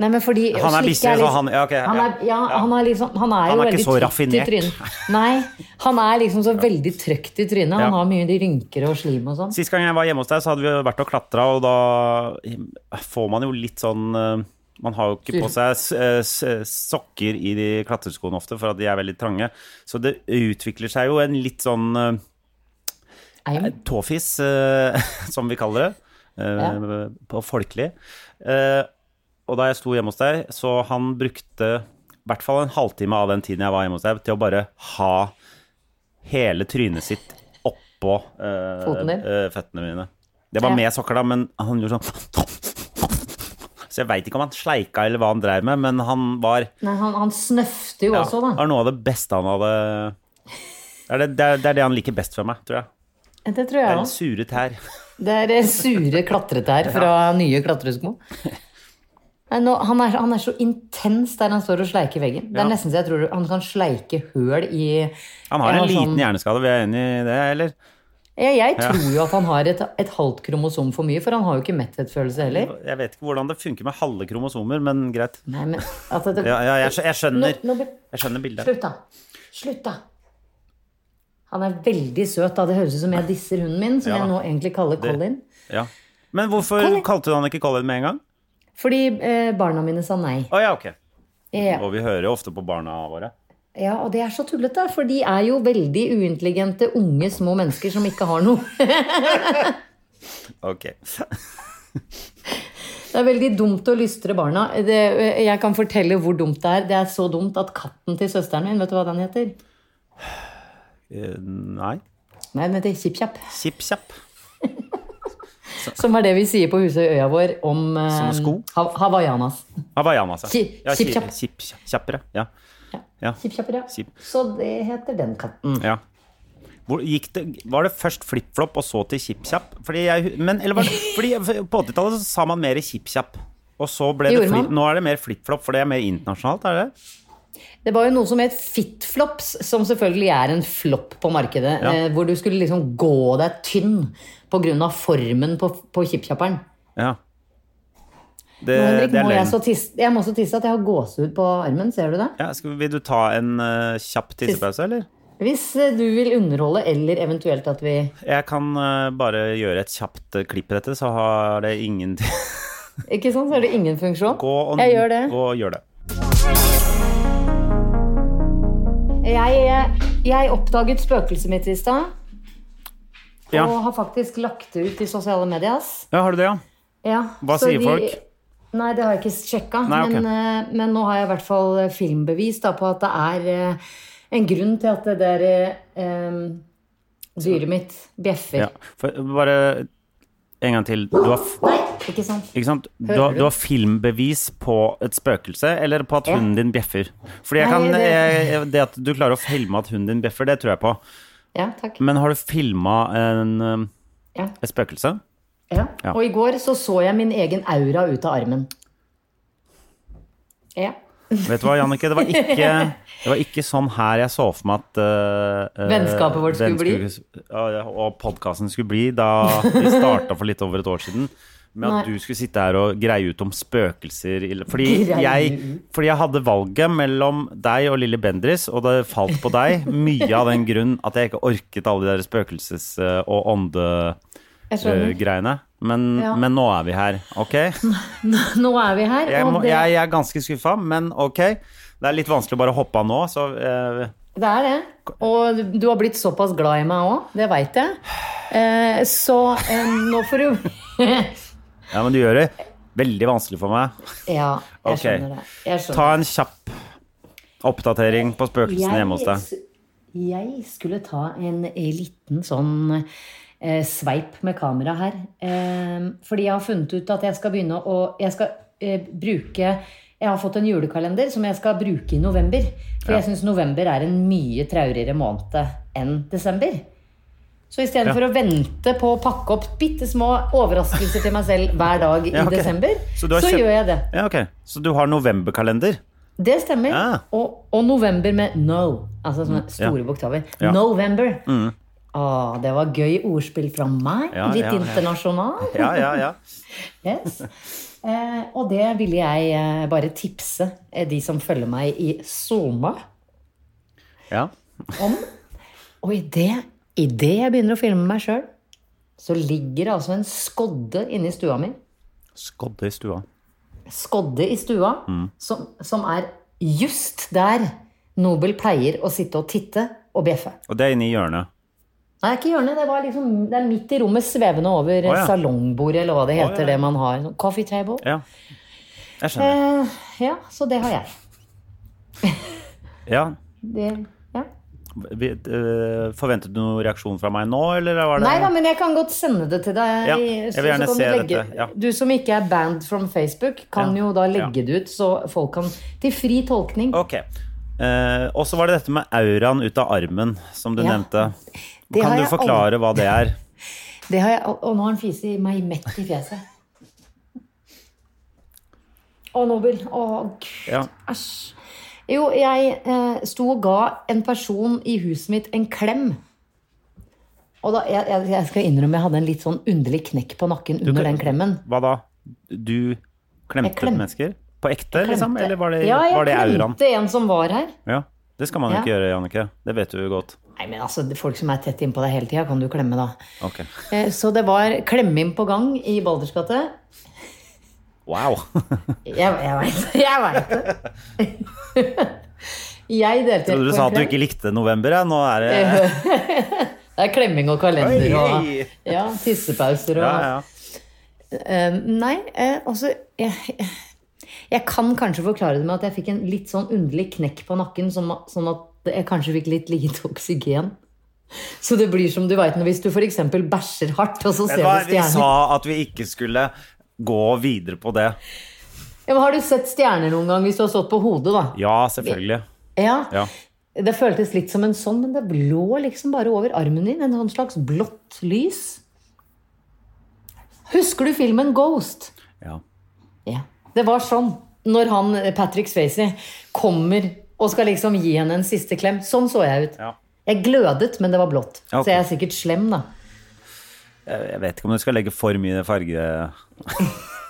Speaker 2: Nei, men fordi
Speaker 1: Han er
Speaker 2: slikke
Speaker 1: bissig, så
Speaker 2: litt-
Speaker 1: han- ja, ok, ja,
Speaker 2: han er, ja,
Speaker 1: ja.
Speaker 2: han er liksom Han er,
Speaker 1: Han
Speaker 2: jo
Speaker 1: er ikke
Speaker 2: veldig
Speaker 1: så
Speaker 2: trøtt i
Speaker 1: raffinert.
Speaker 2: trynet. Nei, han er liksom så veldig trøkt i trynet. Han
Speaker 1: Ja.
Speaker 2: har mye de rynker og slim og sånn.
Speaker 1: Sist gang jeg var hjemme hos deg, så hadde vi jo vært og klatra, og da får man jo litt sånn eh, Man har jo ikke på seg s- eh, s- sokker i de klatreskoene ofte, for at de er veldig trange. Så det utvikler seg jo en litt sånn eh,
Speaker 2: Eim.
Speaker 1: tåfis, eh, som vi kaller det, eh, på folkelig. Eh, og da jeg sto hjemme hos deg, så han brukte i hvert fall en halvtime av den tiden jeg var hjemme hos deg, til å bare ha hele trynet sitt oppå eh,
Speaker 2: Foten din?
Speaker 1: eh, føttene mine. Det var
Speaker 2: Ja.
Speaker 1: med sokker, da, men han gjorde sånn Så jeg veit ikke om han sleika eller hva han dreiv med, men han var
Speaker 2: Nei, han, han snøfter jo
Speaker 1: ja,
Speaker 2: også, da.
Speaker 1: var noe av det beste han hadde Det er det, det, er, det er det han liker best fra meg, tror jeg.
Speaker 2: Det tror
Speaker 1: Det
Speaker 2: jeg
Speaker 1: er
Speaker 2: òg.
Speaker 1: en sure tær.
Speaker 2: Det er eh, sure klatretær fra nye klatresko. Nei, nå, han, er, han er så intens der han står og sleiker veggen. Det
Speaker 1: Ja.
Speaker 2: er nesten så jeg tror han kan sleike høl i
Speaker 1: Han har
Speaker 2: Jeg
Speaker 1: en liten
Speaker 2: sånn-
Speaker 1: hjerneskade, vi er enige i det, eller?
Speaker 2: Jeg, jeg tror jo at han har et, et halvt kromosom for mye, for han har jo ikke metthetsfølelse heller.
Speaker 1: Jeg vet ikke hvordan det funker med halve kromosomer, men greit.
Speaker 2: Nei, men altså det,
Speaker 1: Ja, ja, jeg, skj- jeg skjønner.
Speaker 2: Nå- nå blir-
Speaker 1: Jeg skjønner bildet.
Speaker 2: Slutt, da. Slutt, da. Han er veldig søt, da. Det høres ut som jeg disser hunden min, som
Speaker 1: Ja,
Speaker 2: jeg
Speaker 1: da.
Speaker 2: nå egentlig kaller Colin.
Speaker 1: Ja. Men hvorfor kalte du han ikke Colin med en gang?
Speaker 2: Fordi eh, barna mine sa nei.
Speaker 1: Å ja, ok.
Speaker 2: Ja,
Speaker 1: Og vi hører jo ofte på barna våre.
Speaker 2: ja, og det er så tullete, for de er jo veldig uintelligente, unge, små mennesker som ikke har noe.
Speaker 1: Ok. Eh,
Speaker 2: Det er veldig dumt å lystre barna. Det, eh, jeg kan fortelle hvor dumt det er. Det er så dumt at katten til søsteren min, vet du hva den heter?
Speaker 1: Eh, Nei.
Speaker 2: Nei, den heter Kjipp-Kjapp.
Speaker 1: Kjipp kjapp.
Speaker 2: Som er det vi sier på huset i øya vår om eh,
Speaker 1: sko?
Speaker 2: ha- Hawaiianas.
Speaker 1: Hawaiianas, ja.
Speaker 2: Ki-
Speaker 1: altså. Ja,
Speaker 2: kjipp
Speaker 1: ki-
Speaker 2: kjapp.
Speaker 1: Kjipp kjapp- kjappere. Ja. Ja.
Speaker 2: Kjipp-Kjapp, ja.
Speaker 1: Kjipp.
Speaker 2: Så det heter den katten.
Speaker 1: ja. Hvor gikk det, var det først flip-flop og så til kjipp-kjapp? Fordi jeg, men, eller var det, fordi på 80-tallet så sa man mer kjipp-kjapp. Og så ble det
Speaker 2: Gjorde
Speaker 1: flip,
Speaker 2: man?
Speaker 1: nå er det mer flip-flop, for det er mer internasjonalt, er det det?
Speaker 2: Det var jo noe som het fitflops, som selvfølgelig er en flopp på markedet.
Speaker 1: Ja.
Speaker 2: Eh, hvor du skulle liksom gå deg tynn pga. formen på, på kjipp-kjapperen.
Speaker 1: Ja. Det,
Speaker 2: Nå, Henrik,
Speaker 1: Eh, det er
Speaker 2: må jeg,
Speaker 1: løgn.
Speaker 2: så tisse, jeg må så tisse at jeg har gåsehud på armen. Ser du det?
Speaker 1: Ja, skal, vil du ta en eh, kjapp tissepause, eller?
Speaker 2: Hvis eh, du vil underholde, eller eventuelt at vi
Speaker 1: Jeg kan eh, bare gjøre et kjapt eh, klipp i dette, så har det ingen
Speaker 2: Ikke sånn, så er det ingen funksjon.
Speaker 1: Gå og,
Speaker 2: jeg gjør det.
Speaker 1: Gå og gjør det.
Speaker 2: Jeg, eh, jeg oppdaget spøkelset mitt i stad,
Speaker 1: Ja.
Speaker 2: og har faktisk lagt det ut i sosiale medier. ass.
Speaker 1: ja, har du det, ja?
Speaker 2: Ja,
Speaker 1: Hva
Speaker 2: så
Speaker 1: sier folk?
Speaker 2: Nei, det har jeg ikke sjekka.
Speaker 1: Nei, ok.
Speaker 2: men, eh, men nå har jeg i hvert fall eh, filmbevis da, på at det er eh, en grunn til at det der eh, em, dyret mitt bjeffer.
Speaker 1: Ja, for bare en gang til. Du har, f-
Speaker 2: Nei, ikke sant?
Speaker 1: ikke sant? Du,
Speaker 2: Hører
Speaker 1: har,
Speaker 2: du?
Speaker 1: du har filmbevis på et spøkelse, eller på at hunden din bjeffer? Fordi jeg
Speaker 2: Nei,
Speaker 1: kan,
Speaker 2: det-
Speaker 1: jeg, jeg- det at du klarer å filme at hunden din bjeffer, det tror jeg på.
Speaker 2: Ja, takk.
Speaker 1: Men har du filma et
Speaker 2: Ja.
Speaker 1: spøkelse?
Speaker 2: Ja.
Speaker 1: Ja.
Speaker 2: Og i går så så jeg min egen aura ut av armen. Ja.
Speaker 1: Vet du hva, Jannicke, det var ikke, det var ikke sånn her jeg så for meg at eh, eh,
Speaker 2: Vennskapet vårt
Speaker 1: den
Speaker 2: skulle bli?
Speaker 1: ja, og podkasten skulle bli, da vi starta for litt over et år siden. Med at
Speaker 2: Nei.
Speaker 1: du skulle sitte her og greie ut om spøkelser i- Fordi
Speaker 2: Greie
Speaker 1: jeg, fordi jeg hadde valget mellom deg og Lille Bendris, og det falt på deg. Mye av den grunn at jeg ikke orket alle de der spøkelses- og
Speaker 2: Jeg skjønner.
Speaker 1: åndegreiene. Men,
Speaker 2: Ja.
Speaker 1: men nå er vi her, OK?
Speaker 2: Nå er vi her,
Speaker 1: Jeg, må,
Speaker 2: og det,
Speaker 1: jeg, jeg er ganske skuffa, men ok. Det er litt vanskelig å bare hoppe av nå, så eh,
Speaker 2: det er det. Og du har blitt såpass glad i meg òg, det veit jeg. Eh, så eh, nå får du
Speaker 1: Ja, men du gjør det veldig vanskelig for meg.
Speaker 2: Ja, jeg
Speaker 1: Ok.
Speaker 2: skjønner det. Jeg skjønner.
Speaker 1: Ta en kjapp oppdatering på spøkelsene hjemme hos deg.
Speaker 2: Jeg, jeg skulle ta en liten sånn eh, sveip med kamera her. Eh, fordi jeg har funnet ut at jeg skal begynne å Jeg skal eh, bruke Jeg har fått en julekalender som jeg skal bruke i november. For jeg syns november er en mye traurigere måned enn desember. Så
Speaker 1: Ja.
Speaker 2: istedenfor for å vente på å pakke opp bitte små overraskelser til meg selv hver dag i
Speaker 1: Ja, ok.
Speaker 2: desember,
Speaker 1: Så
Speaker 2: så,
Speaker 1: du har kjøpt-
Speaker 2: gjør jeg det.
Speaker 1: Ja, ok. Så du har novemberkalender?
Speaker 2: Det stemmer.
Speaker 1: Ja.
Speaker 2: Og, og november med no. Altså sånne store
Speaker 1: Ah. Mm. Ja.
Speaker 2: bokstaver.
Speaker 1: Ja. Mm.
Speaker 2: November. Å, det var gøy ordspill fra meg.
Speaker 1: Ja,
Speaker 2: Litt
Speaker 1: ja, ja.
Speaker 2: internasjonal.
Speaker 1: Ja, ja, ja.
Speaker 2: Yes. Eh, og det ville jeg eh, bare tipse eh, de som følger meg i Zoma
Speaker 1: ja.
Speaker 2: om. Og idet det jeg begynner å filme meg sjøl, så ligger det altså en skodde inni stua mi.
Speaker 1: Skodde i stua.
Speaker 2: skodde i stua,
Speaker 1: Mm.
Speaker 2: som, som er just der Nobel pleier å sitte og titte og bjeffe.
Speaker 1: Og det er inne i hjørnet.
Speaker 2: Nei, det er ikke hjørnet, det, var liksom, det er midt i rommet, svevende over
Speaker 1: Å, ja.
Speaker 2: salongbordet, eller hva det heter,
Speaker 1: ja.
Speaker 2: det man har. sånn Coffee table.
Speaker 1: Ja. Jeg skjønner.
Speaker 2: Eh, ja, så det har jeg.
Speaker 1: Ja.
Speaker 2: Det, ja.
Speaker 1: Vi, eh, forventet du noen reaksjon fra meg nå, eller var det
Speaker 2: Nei da, men jeg kan godt sende det til deg.
Speaker 1: Ja, jeg vil
Speaker 2: så- så
Speaker 1: gjerne
Speaker 2: kan du
Speaker 1: se dette, ja.
Speaker 2: Du som ikke er banned from Facebook, kan
Speaker 1: Ja,
Speaker 2: jo da
Speaker 1: ja.
Speaker 2: legge det ut, så folk kan Til fri tolkning.
Speaker 1: Ok. Eh, og så var det dette med auraen ut av armen, som du
Speaker 2: Ja.
Speaker 1: nevnte.
Speaker 2: Det har
Speaker 1: Kan du
Speaker 2: jeg
Speaker 1: forklare hva det er?
Speaker 2: Det har jeg, og og nå har han fise meg mett i fjeset. Å, Nobel. Å, gud.
Speaker 1: Ja.
Speaker 2: Æsj. Jo, jeg eh, sto og ga en person i huset mitt en klem. Og da, jeg, jeg- jeg skal innrømme jeg hadde en litt sånn underlig knekk på nakken under
Speaker 1: kan-
Speaker 2: den klemmen.
Speaker 1: Hva da? Du klemte
Speaker 2: Jeg klem-
Speaker 1: mennesker? På ekte, liksom? Eller var det,
Speaker 2: ja, jeg
Speaker 1: var det auraen?
Speaker 2: klemte en som var her.
Speaker 1: Ja, det skal man jo
Speaker 2: Ja.
Speaker 1: ikke gjøre, Jannicke. Det vet du jo godt.
Speaker 2: Nei, men altså, det- Folk som er tett innpå deg hele tida, kan du klemme, da.
Speaker 1: Ok.
Speaker 2: Eh, Så det var klemming på gang i Balders gate.
Speaker 1: Wow.
Speaker 2: Jeg, jeg veit det. Jeg vet det. jeg delte
Speaker 1: Trodde du
Speaker 2: på
Speaker 1: sa
Speaker 2: en
Speaker 1: at du
Speaker 2: klem.
Speaker 1: ikke likte november, ja. Nå er
Speaker 2: Eh,
Speaker 1: det
Speaker 2: Det er klemming og kalender og
Speaker 1: Oi, oi.
Speaker 2: ja, tissepauser og
Speaker 1: Ja, ja.
Speaker 2: Eh, Nei, eh, altså jeg, jeg- jeg kan kanskje forklare det med at jeg fikk en litt sånn underlig knekk på nakken, sånn, sånn at jeg kanskje fikk litt lite oksygen. Så det blir som du veit hvis du f.eks. bæsjer hardt, og så ser
Speaker 1: Vet du hva,
Speaker 2: du
Speaker 1: vi sa
Speaker 2: stjerner.
Speaker 1: at vi ikke skulle gå videre på det.
Speaker 2: Ja, men har du sett stjerner noen gang hvis du har stått på hodet, da?
Speaker 1: Ja, selvfølgelig.
Speaker 2: Ja.
Speaker 1: Ja.
Speaker 2: Det føltes litt som en sånn, men det lå liksom bare over armen din. En sånn slags blått lys. Husker du filmen Ghost?
Speaker 1: ja.
Speaker 2: Ja. Det var sånn. Når han, Patrick Swayze kommer og skal liksom gi henne en siste klem. Sånn så jeg ut.
Speaker 1: Ja.
Speaker 2: Jeg glødet, men det var blått.
Speaker 1: Ja, ok.
Speaker 2: Så jeg er sikkert slem, da.
Speaker 1: Jeg vet ikke om du skal legge for mye farge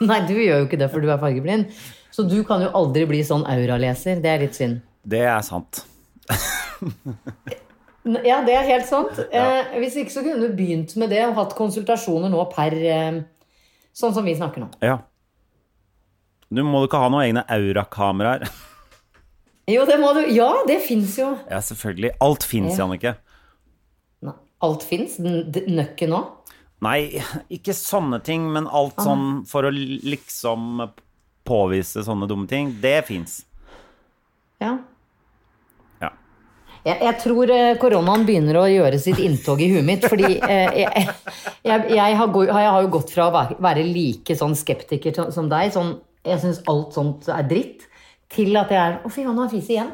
Speaker 2: Nei, du gjør jo ikke det, for du er fargeblind. Så du kan jo aldri bli sånn auraleser. Det er litt synd.
Speaker 1: Det er sant.
Speaker 2: N- Ja, det er helt sant. Eh, hvis ikke så kunne du begynt med det og hatt konsultasjoner nå per eh, Sånn som vi snakker nå.
Speaker 1: Ja. Du må jo ikke ha noen egne aurakameraer.
Speaker 2: Jo, det må du. Ja, det fins jo.
Speaker 1: Ja, selvfølgelig. Alt fins, Jannicke.
Speaker 2: Nei, alt fins. Nøkken òg.
Speaker 1: Nei, ikke sånne ting, men alt
Speaker 2: Ah.
Speaker 1: sånn for å liksom påvise sånne dumme ting, det fins.
Speaker 2: Ja.
Speaker 1: Ja.
Speaker 2: Jeg, jeg tror eh, koronaen begynner å gjøre sitt inntog i huet mitt. Fordi eh, jeg, jeg, jeg, har, gå- jeg har jo gått fra å være, være like sånn skeptiker som- som deg, sånn jeg syns alt sånt er dritt, til at jeg er Å, fy faen, han fiser igjen.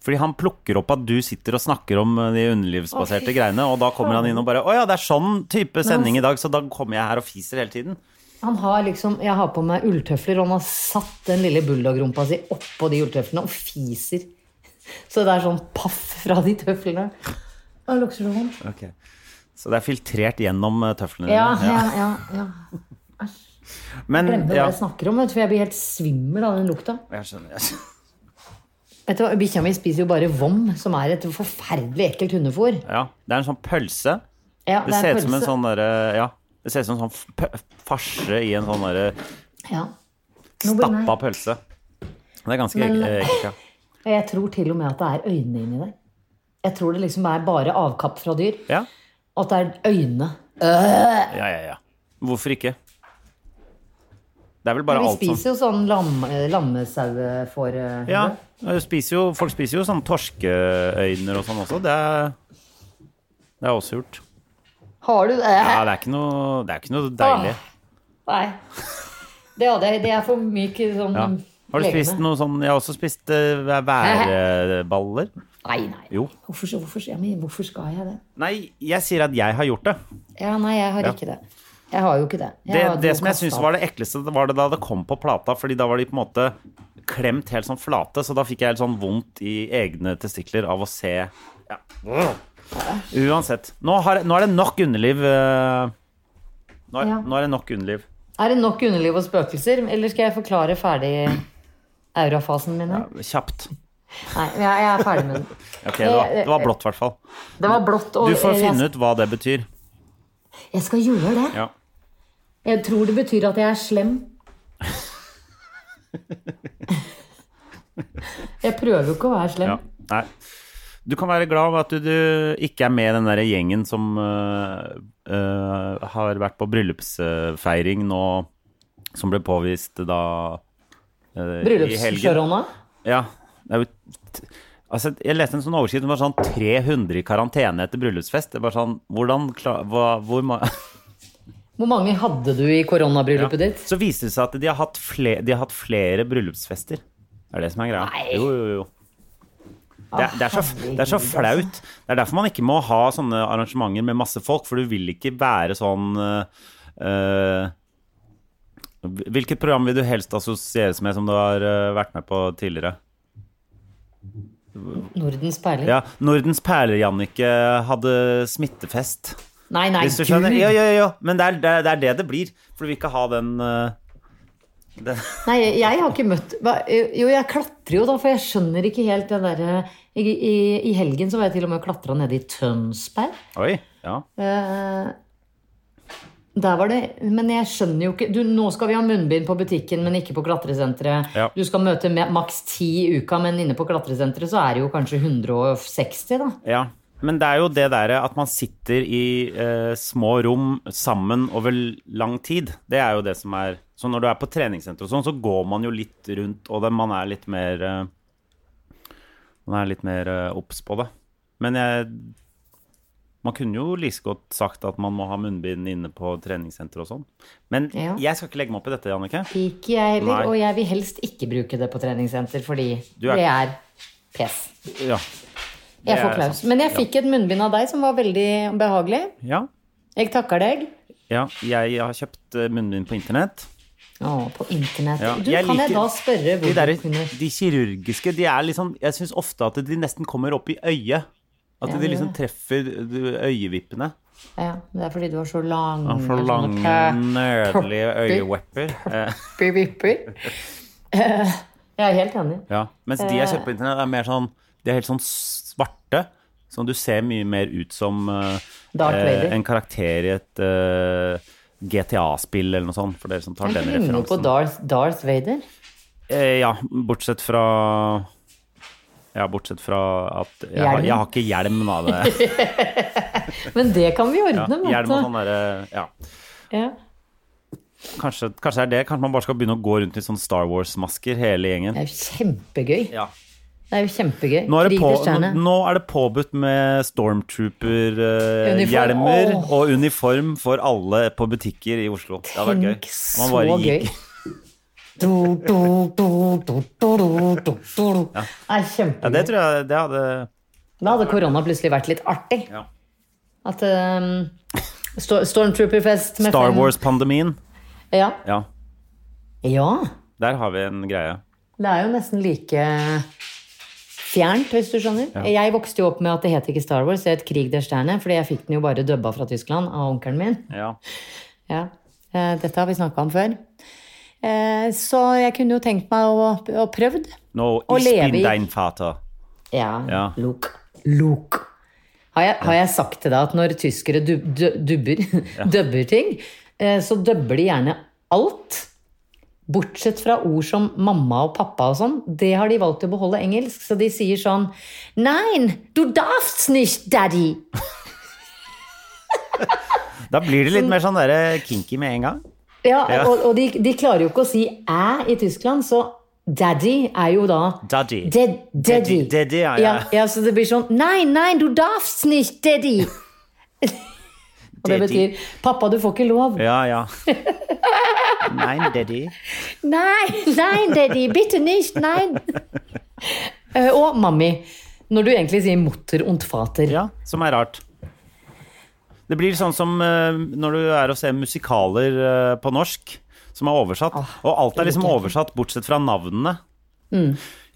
Speaker 1: Fordi han plukker opp at du sitter og snakker om eh, de underlivsbaserte greiene, og da kommer han inn og bare Å ja, det er sånn type sending i dag, så da kommer jeg her og fiser hele tiden.
Speaker 2: Han har liksom, Jeg har på meg ulltøfler, og han har satt den lille bulldog-rumpa si oppå de ulltøflene og fiser. Så det er sånn paff fra de tøflene. Å, lukter så vondt.
Speaker 1: Så det er filtrert gjennom eh, tøflene
Speaker 2: Ja,
Speaker 1: dine.
Speaker 2: ja, ja. ja.
Speaker 1: Men
Speaker 2: Glemmer
Speaker 1: ja,
Speaker 2: hva jeg snakker om, vet du, for jeg blir helt svimmel av den lukta.
Speaker 1: jeg skjønner. Jeg skjønner.
Speaker 2: Vet du hva, Bikkja mi spiser jo bare vom, som er et forferdelig ekkelt hundefôr.
Speaker 1: Ja, det er en sånn pølse.
Speaker 2: Ja,
Speaker 1: Det ser
Speaker 2: er
Speaker 1: ut som en
Speaker 2: pølse.
Speaker 1: sånn derre Ja. Det ser ut som en sånn f- p- farse i en sånn derre
Speaker 2: ja.
Speaker 1: stappa pølse. Det er ganske
Speaker 2: Men- eh,
Speaker 1: ekkelt. ja.
Speaker 2: Og Jeg tror til og med at det er øyne inni der. Jeg tror det liksom er bare avkapp fra dyr.
Speaker 1: Ja.
Speaker 2: Og at det er øyne.
Speaker 1: ja, ja, ja. Hvorfor ikke? Det er vel bare
Speaker 2: Vi
Speaker 1: alt som
Speaker 2: spiser jo sånn lam, eh, lammesauefår. eh,
Speaker 1: ja, du spiser jo, Folk spiser jo sånn torskeøyner og sånn også. Det er, det er også gjort.
Speaker 2: Har du det?
Speaker 1: Ja, det er ikke noe, det er ikke noe deilig.
Speaker 2: Nei. Det, hadde jeg- det er for myk sånn
Speaker 1: Ja. Har du
Speaker 2: legeme.
Speaker 1: spist noe sånn Jeg har også spist eh, værballer.
Speaker 2: Nei, nei.
Speaker 1: Jo.
Speaker 2: Hvorfor, så- hvorfor, så- ja, men hvorfor skal jeg det?
Speaker 1: Nei, jeg sier at jeg har gjort det.
Speaker 2: Ja, nei, jeg har ikke det. Jeg har jo ikke det. Jeg
Speaker 1: Det,
Speaker 2: hadde
Speaker 1: det
Speaker 2: jo
Speaker 1: som jeg
Speaker 2: kastet
Speaker 1: syns
Speaker 2: opp.
Speaker 1: var det ekleste, det var det da det kom på plata, fordi da var de på en måte klemt helt sånn flate, så da fikk jeg helt sånn vondt i egne testikler av å se ja. Uansett. Nå, har, nå er det nok underliv. eh, Nå er,
Speaker 2: Ja.
Speaker 1: nå er det nok underliv.
Speaker 2: Er det nok underliv og spøkelser, eller skal jeg forklare ferdig aurafasen min? her?
Speaker 1: Kjapt.
Speaker 2: Nei, jeg, jeg er ferdig med den.
Speaker 1: Ok, det var, det var blått, i hvert fall.
Speaker 2: Det var blått. Eh, Og eh,
Speaker 1: Du får
Speaker 2: jeg,
Speaker 1: finne ut hva det betyr.
Speaker 2: Jeg skal gjøre det.
Speaker 1: Ja.
Speaker 2: Jeg tror det betyr at jeg er slem. Jeg prøver jo ikke å være slem.
Speaker 1: Ja. Nei. Du kan være glad over at du, du ikke er med i den der gjengen som øh, øh, har vært på bryllupsfeiring nå, som ble påvist da øh, i helgen.
Speaker 2: Bryllupskorona.
Speaker 1: Ja. Det er jo t- Altså, jeg leste en sånn oversikt som var sånn 300 i karantene etter bryllupsfest. Det var sånn, hvordan kla- hva, hvor ma
Speaker 2: Hvor mange hadde du i koronabryllupet ditt?
Speaker 1: Så viste det seg at de har hatt, fle de har hatt flere bryllupsfester. Det er det som er greia.
Speaker 2: Nei. Ah,
Speaker 1: Jo, jo, jo. Det er, det, er så, det er så flaut.
Speaker 2: altså.
Speaker 1: Det er derfor man ikke må ha sånne arrangementer med masse folk, for du vil ikke være sånn eh, eh, Hvilket program vil du helst assosieres med som du har eh, vært med på tidligere?
Speaker 2: Nordens perler.
Speaker 1: Ja, Nordens perler, Jannicke, hadde smittefest.
Speaker 2: Nei, nei,
Speaker 1: Hvis du skjønner?
Speaker 2: gud.
Speaker 1: Jo, jo, jo. Men det er det, er- det, er det det blir. For du vil ikke ha den eh, den-
Speaker 2: Nei, jeg har ikke møtt hva- Jo, jeg klatrer jo da, for jeg skjønner ikke helt den derre i, i, I helgen så var jeg til og med og klatra nede i Tønsberg.
Speaker 1: Oi. Ja.
Speaker 2: Eh, der var det Men jeg skjønner jo ikke du, Nå skal vi ha munnbind på butikken, men ikke på klatresenteret.
Speaker 1: Ja.
Speaker 2: Du skal møte me- maks ti i uka, men inne på klatresenteret så er det jo kanskje 160, da.
Speaker 1: ja. Men det er jo det derre at man sitter i eh, små rom sammen over lang tid. Det er jo det som er Så når du er på treningssenter og sånn, så går man jo litt rundt, og det, man er litt mer eh, Man er litt mer eh, obs på det. Men jeg Man kunne jo like så godt sagt at man må ha munnbind inne på treningssenter og sånn. Men
Speaker 2: Ja.
Speaker 1: jeg skal ikke legge meg opp i dette, Jannicke.
Speaker 2: Ikke jeg heller.
Speaker 1: Nei.
Speaker 2: Og jeg vil helst ikke bruke det på treningssenter, fordi
Speaker 1: Du er-
Speaker 2: det er pes.
Speaker 1: Ja. Det
Speaker 2: Jeg
Speaker 1: er
Speaker 2: får klaus.
Speaker 1: sant.
Speaker 2: Men jeg fikk et munnbind av deg som var veldig behagelig.
Speaker 1: Ja.
Speaker 2: Jeg takker deg.
Speaker 1: ja. Jeg har kjøpt eh, munnbind på internett.
Speaker 2: Å, på internett.
Speaker 1: Ja,
Speaker 2: Du,
Speaker 1: jeg
Speaker 2: kan jeg
Speaker 1: liker-
Speaker 2: da spørre
Speaker 1: De,
Speaker 2: hvor
Speaker 1: der,
Speaker 2: du kunne
Speaker 1: de kirurgiske, de er liksom Jeg syns ofte at de nesten kommer opp i øyet. At
Speaker 2: Ja,
Speaker 1: de
Speaker 2: det
Speaker 1: liksom
Speaker 2: gjør
Speaker 1: treffer du, øyevippene.
Speaker 2: ja, Det er fordi du har så lang
Speaker 1: Han får
Speaker 2: sånne
Speaker 1: lange,
Speaker 2: pæ-
Speaker 1: nødelige øyevepper. Eh,
Speaker 2: Vipper. Eh, Jeg er helt enig.
Speaker 1: ja. Mens de jeg kjøper på internett, er mer sånn De er helt sånn svarte. Sånn du ser mye mer ut som eh,
Speaker 2: Darth
Speaker 1: eh,
Speaker 2: Vader.
Speaker 1: en karakter i et eh, GTA-spill eller noe sånt, for dere som tar
Speaker 2: Han
Speaker 1: den
Speaker 2: ligner jo på
Speaker 1: referansen.
Speaker 2: Darth, Darth Vader.
Speaker 1: Eh, ja, bortsett fra Ja, bortsett fra at Jeg, har,
Speaker 2: Hjelm.
Speaker 1: jeg har ikke hjelm, da. Det.
Speaker 2: Men det kan vi ordne, vet
Speaker 1: Hjelm og
Speaker 2: du.
Speaker 1: sånn derre Ja.
Speaker 2: Ja.
Speaker 1: Kanskje, kanskje det er det. Kanskje man bare skal begynne å gå rundt i sånn Star Wars-masker, hele gjengen.
Speaker 2: Det er jo kjempegøy.
Speaker 1: Ja.
Speaker 2: Det er jo kjempegøy.
Speaker 1: Nå, er det
Speaker 2: Krig
Speaker 1: på,
Speaker 2: til stjerne.
Speaker 1: nå, nå er det påbudt med
Speaker 2: Uniform.
Speaker 1: stormtrooper-hjelmer
Speaker 2: Åh.
Speaker 1: og uniform for alle på butikker i Oslo. Det hadde vært
Speaker 2: Tenk
Speaker 1: gøy.
Speaker 2: så
Speaker 1: Man bare
Speaker 2: gøy.
Speaker 1: gikk-
Speaker 2: Du, du, du, du, du, du, du, du. Det er
Speaker 1: Ja, det
Speaker 2: kjempegøy.
Speaker 1: tror jeg det hadde
Speaker 2: Da hadde korona plutselig vært litt artig.
Speaker 1: ja.
Speaker 2: At um, Sto- Stormtrooper-fest med
Speaker 1: Star
Speaker 2: fem-
Speaker 1: Wars-pandemien.
Speaker 2: Ja.
Speaker 1: Ja,
Speaker 2: ja.
Speaker 1: der har vi en greie.
Speaker 2: Det er jo nesten like fjernt, hvis du skjønner. Jeg vokste jo opp med at det het ikke Star Wars, det het Krig der stjerne, fordi jeg fikk den jo bare dubba fra Tyskland av onkelen min.
Speaker 1: Ja.
Speaker 2: Ja, eh, dette har vi snakka om før. Eh, Så jeg kunne jo tenkt meg å, å prøvd.
Speaker 1: Nå,
Speaker 2: Å
Speaker 1: ich
Speaker 2: leve
Speaker 1: bin
Speaker 2: i-
Speaker 1: dein Vater.
Speaker 2: Ja,
Speaker 1: Ja.
Speaker 2: Luke. Luke. Har jeg, har jeg sagt til deg at når tyskere dub, du- dubber, dubber ting, eh, så dubber de gjerne alt. Bortsett fra ord som mamma og pappa og sånn. Det har de valgt å beholde engelsk, så de sier sånn Nein, du darfst nicht, daddy.
Speaker 1: Da blir det litt mer sånn der kinky med en gang.
Speaker 2: Ja,
Speaker 1: Ja.
Speaker 2: Og, og de, de klarer jo ikke å si æ i Tyskland, så daddy er jo da
Speaker 1: Daddy.
Speaker 2: Ded, daddy.
Speaker 1: Daddy, daddy, ja, ja.
Speaker 2: ja. ja, så det blir sånn Nei, nei, du darfst nicht, daddy. og
Speaker 1: Daddy.
Speaker 2: det betyr Pappa, du får ikke lov.
Speaker 1: Ja, ja. Nei, daddy.
Speaker 2: Nei, nei, daddy, bitte nicht, nei. Eh, og mammi. Når du egentlig sier mutter und fater.
Speaker 1: Ja, som er rart. Det blir sånn som eh, når du er og ser musikaler eh, på norsk, som er oversatt. Og alt er liksom oversatt, bortsett fra navnene.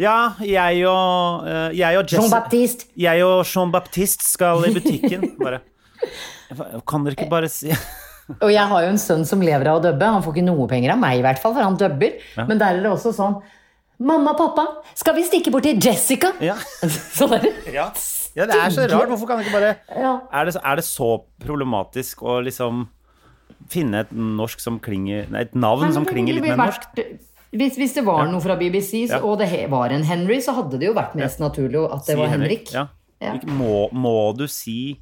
Speaker 1: Ja, jeg og, eh, jeg og Jess
Speaker 2: Jean-Baptiste.
Speaker 1: Jeg og Jean-Baptiste skal i butikken. Bare. Kan dere ikke bare si
Speaker 2: Og jeg har jo en sønn som lever av å dubbe. Han får ikke noe penger av meg, i hvert fall, for han dubber. Men der er det også sånn Mamma og pappa, skal vi stikke bort til Jessica?
Speaker 1: Ja.
Speaker 2: Sånn er det.
Speaker 1: Ja, ja det er så rart. Hvorfor kan dere ikke bare
Speaker 2: Ja.
Speaker 1: er det, er det så problematisk å liksom finne et norsk som klinger Nei, et navn som klinger litt mer norsk?
Speaker 2: Hvis, hvis det var noe fra BBC, så,
Speaker 1: Ja.
Speaker 2: og det he- var en Henry, så hadde det jo vært mest naturlig at det
Speaker 1: Si
Speaker 2: var Henrik.
Speaker 1: Ja.
Speaker 2: Ja.
Speaker 1: Ikke- Må, må du si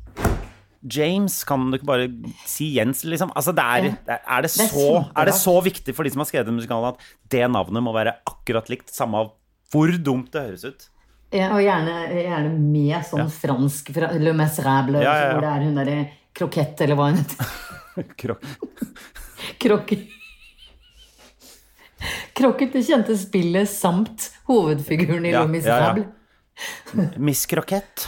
Speaker 1: James? Kan du ikke bare si Jens, liksom? Altså, det er, det er, det
Speaker 2: er
Speaker 1: så, er det
Speaker 2: kjemperart.
Speaker 1: så viktig for de som har skrevet den musikalen, at det navnet må være akkurat likt, samme av hvor dumt det høres ut?
Speaker 2: Ja, og gjerne, gjerne med sånn fransk fra Le Mesrable,
Speaker 1: Ja, ja, ja.
Speaker 2: hvor det er hun derre krokett, eller hva hun heter.
Speaker 1: Krok-
Speaker 2: Krok... Krokket, det kjente spillet samt hovedfiguren i
Speaker 1: Ja,
Speaker 2: Le
Speaker 1: ja, ja.
Speaker 2: Miserable.
Speaker 1: Miss Krokett.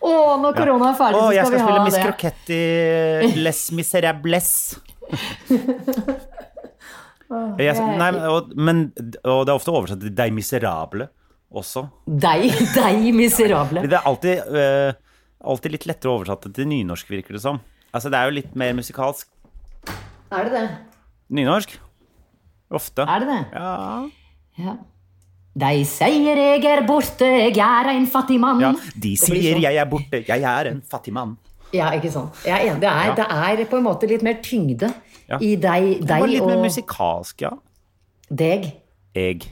Speaker 2: Å, når korona er
Speaker 1: Å,
Speaker 2: ferdig, så
Speaker 1: jeg
Speaker 2: skal,
Speaker 1: skal
Speaker 2: vi
Speaker 1: spille
Speaker 2: ha
Speaker 1: Miss
Speaker 2: det.
Speaker 1: Krokett i Les Miserables. Jeg, nei, men- og, men, og det er ofte oversatt til De Miserable. også.
Speaker 2: Deg, deg miserable.
Speaker 1: Det er alltid, eh, alltid litt lettere å oversette til nynorsk, virker det som. Altså, det er jo litt mer musikalsk
Speaker 2: Er det det?
Speaker 1: nynorsk. Ofte.
Speaker 2: Er det det?
Speaker 1: Ja.
Speaker 2: Ja. De sier jeg er borte, jeg er en fattig mann.
Speaker 1: ja.
Speaker 2: Ja,
Speaker 1: De sier
Speaker 2: sånn.
Speaker 1: 'jeg er borte, jeg er en fattig mann'.
Speaker 2: ikke sant. Jeg er enig. Det er, det er på en måte litt mer tyngde
Speaker 1: Ja.
Speaker 2: i deg,
Speaker 1: Bare litt
Speaker 2: deg
Speaker 1: mer
Speaker 2: og
Speaker 1: musikalsk, ja.
Speaker 2: deg.
Speaker 1: Jeg.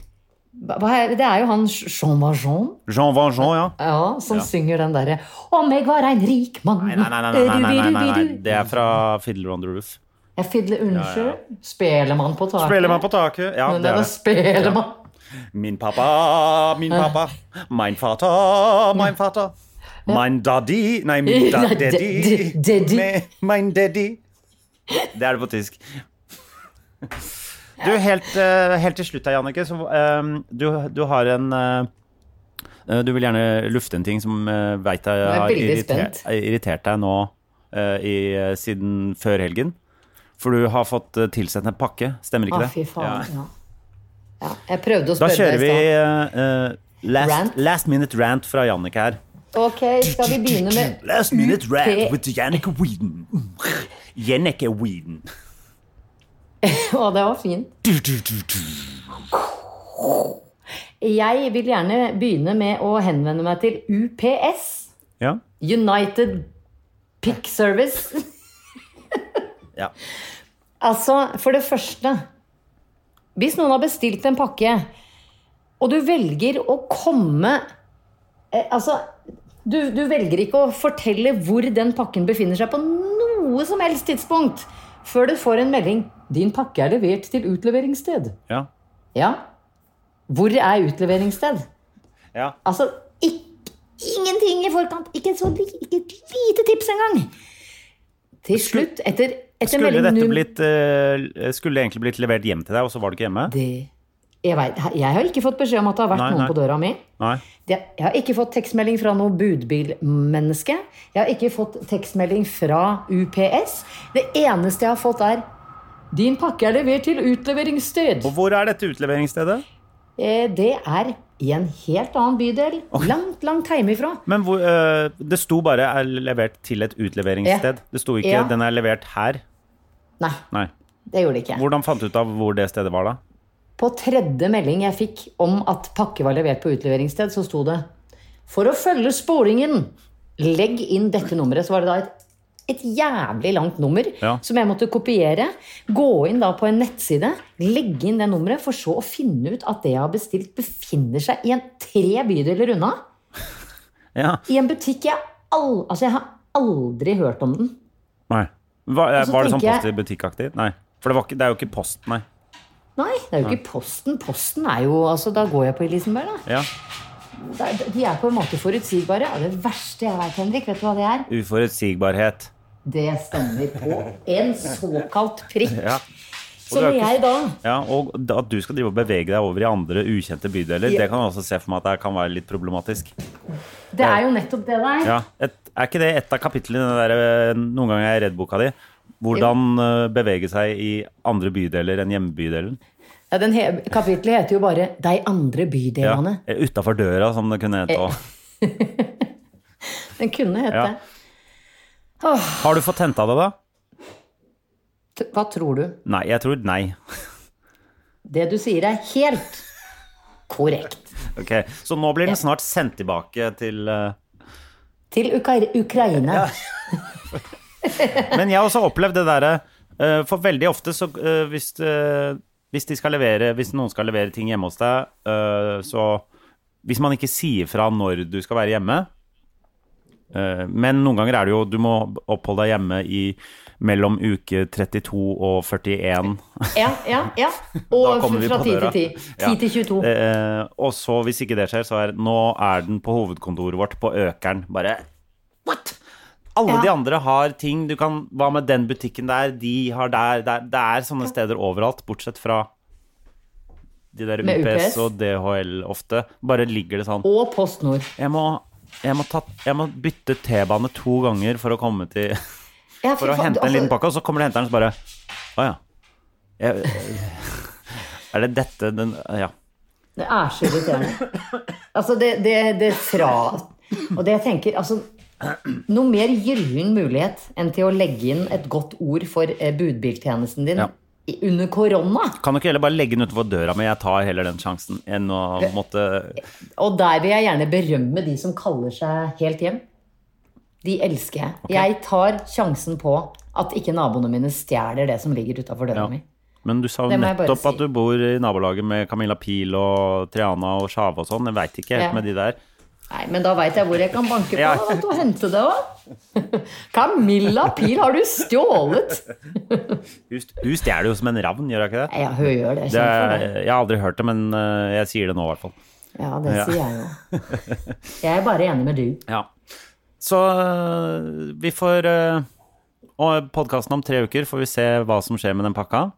Speaker 2: Hva- hva er- Det er jo han Jean Valjean
Speaker 1: Jean Valjean, ja.
Speaker 2: ja, som synger den derre 'Om jeg var en rik mann'
Speaker 1: Nei, nei, nei, nei, nei, nei, nei, nei, nei. Det er fra Fiddler on the Roof.
Speaker 2: Jeg fidler unnskyld. Spelemann på taket.
Speaker 1: Spelemann på taket. Ja,
Speaker 2: Men
Speaker 1: det er det.
Speaker 2: Spelemann.
Speaker 1: Min pappa, min pappa. Mein Vater, mein Vater. Mein Daddy Nei, min da
Speaker 2: Nei, de-
Speaker 1: daddy.
Speaker 2: de- daddy.
Speaker 1: Me- Mein daddy. Det er det på tysk. Du, helt, eh, helt til slutt her, Jannicke, så eh, du, du har en eh, Du vil gjerne lufte en ting som uh, veit jeg
Speaker 2: er
Speaker 1: har
Speaker 2: veldig
Speaker 1: irritert,
Speaker 2: spent.
Speaker 1: irritert deg nå eh, i, siden før helgen. For du har fått eh, tilsendt en pakke, stemmer ikke
Speaker 2: Å,
Speaker 1: det? Ja.
Speaker 2: fy faen. Ja. Ja, jeg prøvde å
Speaker 1: Da
Speaker 2: spørre
Speaker 1: kjører vi
Speaker 2: deg i
Speaker 1: eh, eh, last,
Speaker 2: Rant?
Speaker 1: last minute rant fra Jannicke her.
Speaker 2: stad. Ok, skal vi begynne med
Speaker 1: Last minute
Speaker 2: rant
Speaker 1: with Jannicke Weeden. Jannicke Weeden.
Speaker 2: Å, det var fint. Jeg vil gjerne begynne med å henvende meg til UPS.
Speaker 1: Ja.
Speaker 2: United Pick Service.
Speaker 1: ja.
Speaker 2: Altså, for det første Hvis noen har bestilt en pakke, og du velger å komme eh, Altså, du, du velger ikke å fortelle hvor den pakken befinner seg på noe som helst tidspunkt før du får en melding 'Din pakke er levert til utleveringssted'.
Speaker 1: Ja.
Speaker 2: Ja. Hvor er utleveringssted?
Speaker 1: ja.
Speaker 2: Altså, ikk- ingenting i forkant. Ikke, så, li- ikke et lite tips engang. Til slutt, etter, etter
Speaker 1: Skulle
Speaker 2: melding
Speaker 1: dette
Speaker 2: num-
Speaker 1: blitt eh, Skulle egentlig blitt levert hjem til deg, og så var du ikke hjemme?
Speaker 2: Det, jeg, vet, jeg har ikke fått beskjed om at det har vært
Speaker 1: Nei,
Speaker 2: noen
Speaker 1: nei.
Speaker 2: på døra mi.
Speaker 1: Nei.
Speaker 2: Det- Jeg har ikke fått tekstmelding fra noe budbilmenneske. Jeg har ikke fått tekstmelding fra UPS. Det eneste jeg har fått, er 'Din pakke er levert til utleveringssted'.
Speaker 1: Og hvor er dette utleveringsstedet?
Speaker 2: Eh, Det er i en helt annen bydel. Langt, langt hjemmefra.
Speaker 1: Men hvor, eh, det sto bare 'er levert til et
Speaker 2: Ja.
Speaker 1: utleveringssted'. Det sto ikke
Speaker 2: Ja.
Speaker 1: 'den er levert her'.
Speaker 2: Nei,
Speaker 1: Nei.
Speaker 2: det gjorde det ikke.
Speaker 1: Hvordan fant du ut av hvor det stedet var, da?
Speaker 2: På tredje melding jeg fikk om at pakke var levert på utleveringssted, så sto det For å følge sporingen, legg inn dette nummeret. Så var det da et, et jævlig langt nummer
Speaker 1: Ja.
Speaker 2: som jeg måtte kopiere. Gå inn da på en nettside, legge inn det nummeret, for så å finne ut at det jeg har bestilt, befinner seg i en tre bydeler unna.
Speaker 1: Ja.
Speaker 2: I en butikk jeg al Altså, jeg har aldri hørt om den.
Speaker 1: Nei. Var,
Speaker 2: så
Speaker 1: var det sånn
Speaker 2: tenker
Speaker 1: post
Speaker 2: jeg-
Speaker 1: i butikk-aktig? Nei. For det, var ikke, det er jo ikke post, nei.
Speaker 2: Nei, det er jo ikke Posten. Posten er jo Altså, da går jeg på Elisenberg, da.
Speaker 1: Ja.
Speaker 2: Det er- De er på en måte forutsigbare. Og det verste jeg vet, Henrik, vet du hva det er?
Speaker 1: Uforutsigbarhet.
Speaker 2: Det stemmer på en såkalt prikk.
Speaker 1: Ja.
Speaker 2: Så
Speaker 1: du er
Speaker 2: når
Speaker 1: ikke-
Speaker 2: jeg da
Speaker 1: Ja, og d- At du skal drive og bevege deg over i andre ukjente bydeler, det kan jeg også se for meg at det kan være litt problematisk.
Speaker 2: Det er jo nettopp det der.
Speaker 1: Ja, et, Er ikke det et av kapitlene i den der eh, 'Noen ganger er jeg redd'-boka di? Hvordan eh, bevege seg i andre bydeler enn hjembydelen.
Speaker 2: Ja, den he kapitlet heter jo bare 'De andre
Speaker 1: Ja.
Speaker 2: bydelene'.
Speaker 1: Utafor døra, som det kunne hete òg.
Speaker 2: Eh. Den kunne hete
Speaker 1: Ja. Har du fått henta det, da?
Speaker 2: T- Hva tror du?
Speaker 1: Nei, jeg tror nei.
Speaker 2: Det du sier, er helt korrekt.
Speaker 1: Ok, Så nå blir den snart sendt tilbake til eh,
Speaker 2: Til Uka- Ukraina.
Speaker 1: Men jeg har også opplevd det derre eh, For veldig ofte så eh, hvis, eh, hvis, de skal levere, hvis noen skal levere ting hjemme hos deg, eh, så Hvis man ikke sier fra når du skal være hjemme eh, Men noen ganger er det jo Du må oppholde deg hjemme i mellom uke 32 og 41.
Speaker 2: Ja, ja, ja.
Speaker 1: Da
Speaker 2: Og
Speaker 1: kommer vi
Speaker 2: fra
Speaker 1: på
Speaker 2: 10
Speaker 1: døra.
Speaker 2: til 10. 10 til 22.
Speaker 1: Eh, og så, hvis ikke det skjer, så er nå er den på hovedkontoret vårt på Økeren. Bare what?! Alle
Speaker 2: Ja.
Speaker 1: de andre har ting. Du kan, hva med den butikken der? De har der, der Det er sånne steder overalt, bortsett fra de der
Speaker 2: Med
Speaker 1: UPS,
Speaker 2: UPS.
Speaker 1: og DHL ofte. Bare ligger det sånn
Speaker 2: Og PostNord.
Speaker 1: Jeg må, jeg må, ta, jeg må bytte T-bane to ganger for å komme til
Speaker 2: Ja, fy
Speaker 1: for å
Speaker 2: faen,
Speaker 1: hente en liten
Speaker 2: altså,
Speaker 1: pakke, og så kommer det henteren og så bare Å ja. Jeg, er det dette den Ja.
Speaker 2: Det er så irriterende. Altså, det, det, det fra Og det jeg tenker, altså Noe mer gyllen mulighet enn til å legge inn et godt ord for eh, budbiltjenesten din
Speaker 1: Ja.
Speaker 2: i- under korona.
Speaker 1: Kan du ikke heller bare legge den utenfor døra mi? Jeg tar heller den sjansen enn å måtte
Speaker 2: Og der vil jeg gjerne berømme de som kaller seg Helt hjem. De elsker jeg. Jeg tar sjansen på at ikke naboene mine stjeler det som ligger utafor døra
Speaker 1: Ja.
Speaker 2: mi.
Speaker 1: Men du sa jo
Speaker 2: Det må jeg bare
Speaker 1: nettopp
Speaker 2: si.
Speaker 1: at du bor i nabolaget med Camilla Pil og Triana og Sjave og sånn. Jeg veit ikke helt
Speaker 2: Ja.
Speaker 1: med de der.
Speaker 2: Nei, men da veit jeg hvor jeg kan banke på
Speaker 1: Ja.
Speaker 2: da, vet du, og hente det òg. Camilla Pil, har du stjålet?
Speaker 1: Hun st- Hun stjeler jo som en ravn, gjør hun ikke det?
Speaker 2: Nei, Ja, hun gjør det.
Speaker 1: det
Speaker 2: Kjent for
Speaker 1: er,
Speaker 2: det.
Speaker 1: jeg har aldri hørt det, men eh, jeg sier det nå i hvert fall.
Speaker 2: Ja, det
Speaker 1: Ja.
Speaker 2: sier jeg jo. Jeg er bare enig med du.
Speaker 1: Ja. Så eh, vi får eh, Og podkasten om tre uker får vi se hva som skjer med den pakka.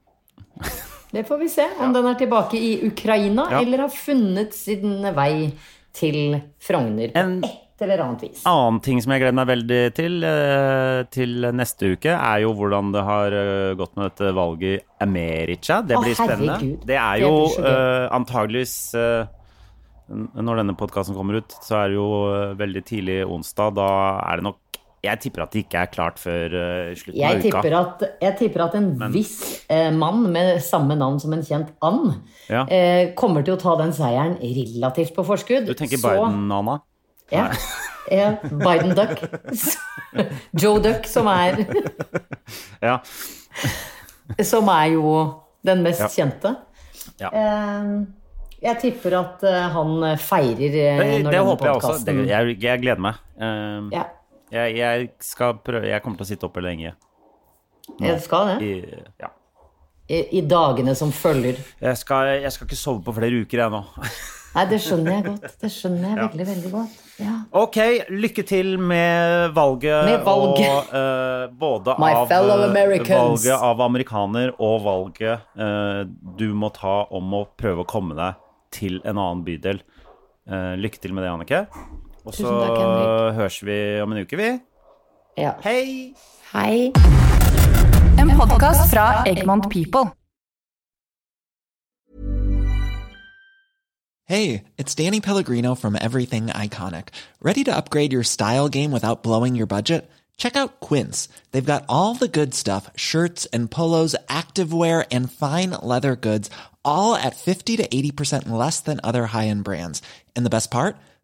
Speaker 2: Det får vi se om den er tilbake i Ukraina
Speaker 1: Ja.
Speaker 2: eller har funnet sin vei til Frogner på
Speaker 1: En-
Speaker 2: et eller annet vis.
Speaker 1: annen ting som jeg gleder meg veldig til eh, til neste uke, er jo hvordan det har eh, gått med dette valget i America. Det
Speaker 2: Å,
Speaker 1: blir spennende.
Speaker 2: herregud.
Speaker 1: Det er
Speaker 2: Det
Speaker 1: jo
Speaker 2: blir så gøy.
Speaker 1: eh, antageligvis eh, n- Når denne podkasten kommer ut, så er det jo eh, veldig tidlig onsdag. Da er det nok Jeg tipper at det ikke er klart før eh, slutten
Speaker 2: Jeg
Speaker 1: av uka.
Speaker 2: tipper, at, jeg tipper at en viss eh, mann med samme navn som en kjent and
Speaker 1: Ja.
Speaker 2: eh, kommer til å ta den seieren relativt på forskudd.
Speaker 1: Du tenker Biden, Anna?
Speaker 2: Ja. ja Biden Duck. Joe Duck, som er,
Speaker 1: Ja.
Speaker 2: som er jo den mest kjente.
Speaker 1: Ja.
Speaker 2: Eh, jeg tipper at eh, han feirer eh,
Speaker 1: Det,
Speaker 2: når
Speaker 1: det
Speaker 2: denne
Speaker 1: håper jeg også. Det,
Speaker 2: podcasten-
Speaker 1: jeg, jeg gleder meg. Eh,
Speaker 2: Ja,
Speaker 1: jeg, jeg skal prøve Jeg kommer til å sitte oppe lenge.
Speaker 2: jeg skal det.
Speaker 1: I, ja.
Speaker 2: I, I dagene som følger.
Speaker 1: Jeg skal, jeg skal ikke sove på flere uker, jeg nå.
Speaker 2: Nei, det skjønner jeg godt. Det skjønner jeg veldig, veldig godt. Ja.
Speaker 1: Ok, lykke til med valget.
Speaker 2: Med valget.
Speaker 1: Og, eh, både
Speaker 2: My
Speaker 1: av,
Speaker 2: fellow
Speaker 1: eh,
Speaker 2: Americans.
Speaker 1: valget av amerikaner og valget eh, du må ta om å prøve å komme deg til en annen bydel. Eh, lykke til med det, Annike. Og så
Speaker 4: Tusen takk, Henrik.
Speaker 1: høres vi om en uke, vi.
Speaker 2: Ja.
Speaker 1: Hei!
Speaker 4: Hei.
Speaker 5: En podkast fra Egmont People.
Speaker 6: Hey, it's Danny Pellegrino from Everything Iconic. Ready to upgrade your style game without blowing your budget? Check out Quince. They've got all the good stuff shirts and polos, activewear, and fine leather goods, all at 50 to 80% less than other high end brands. And the best part?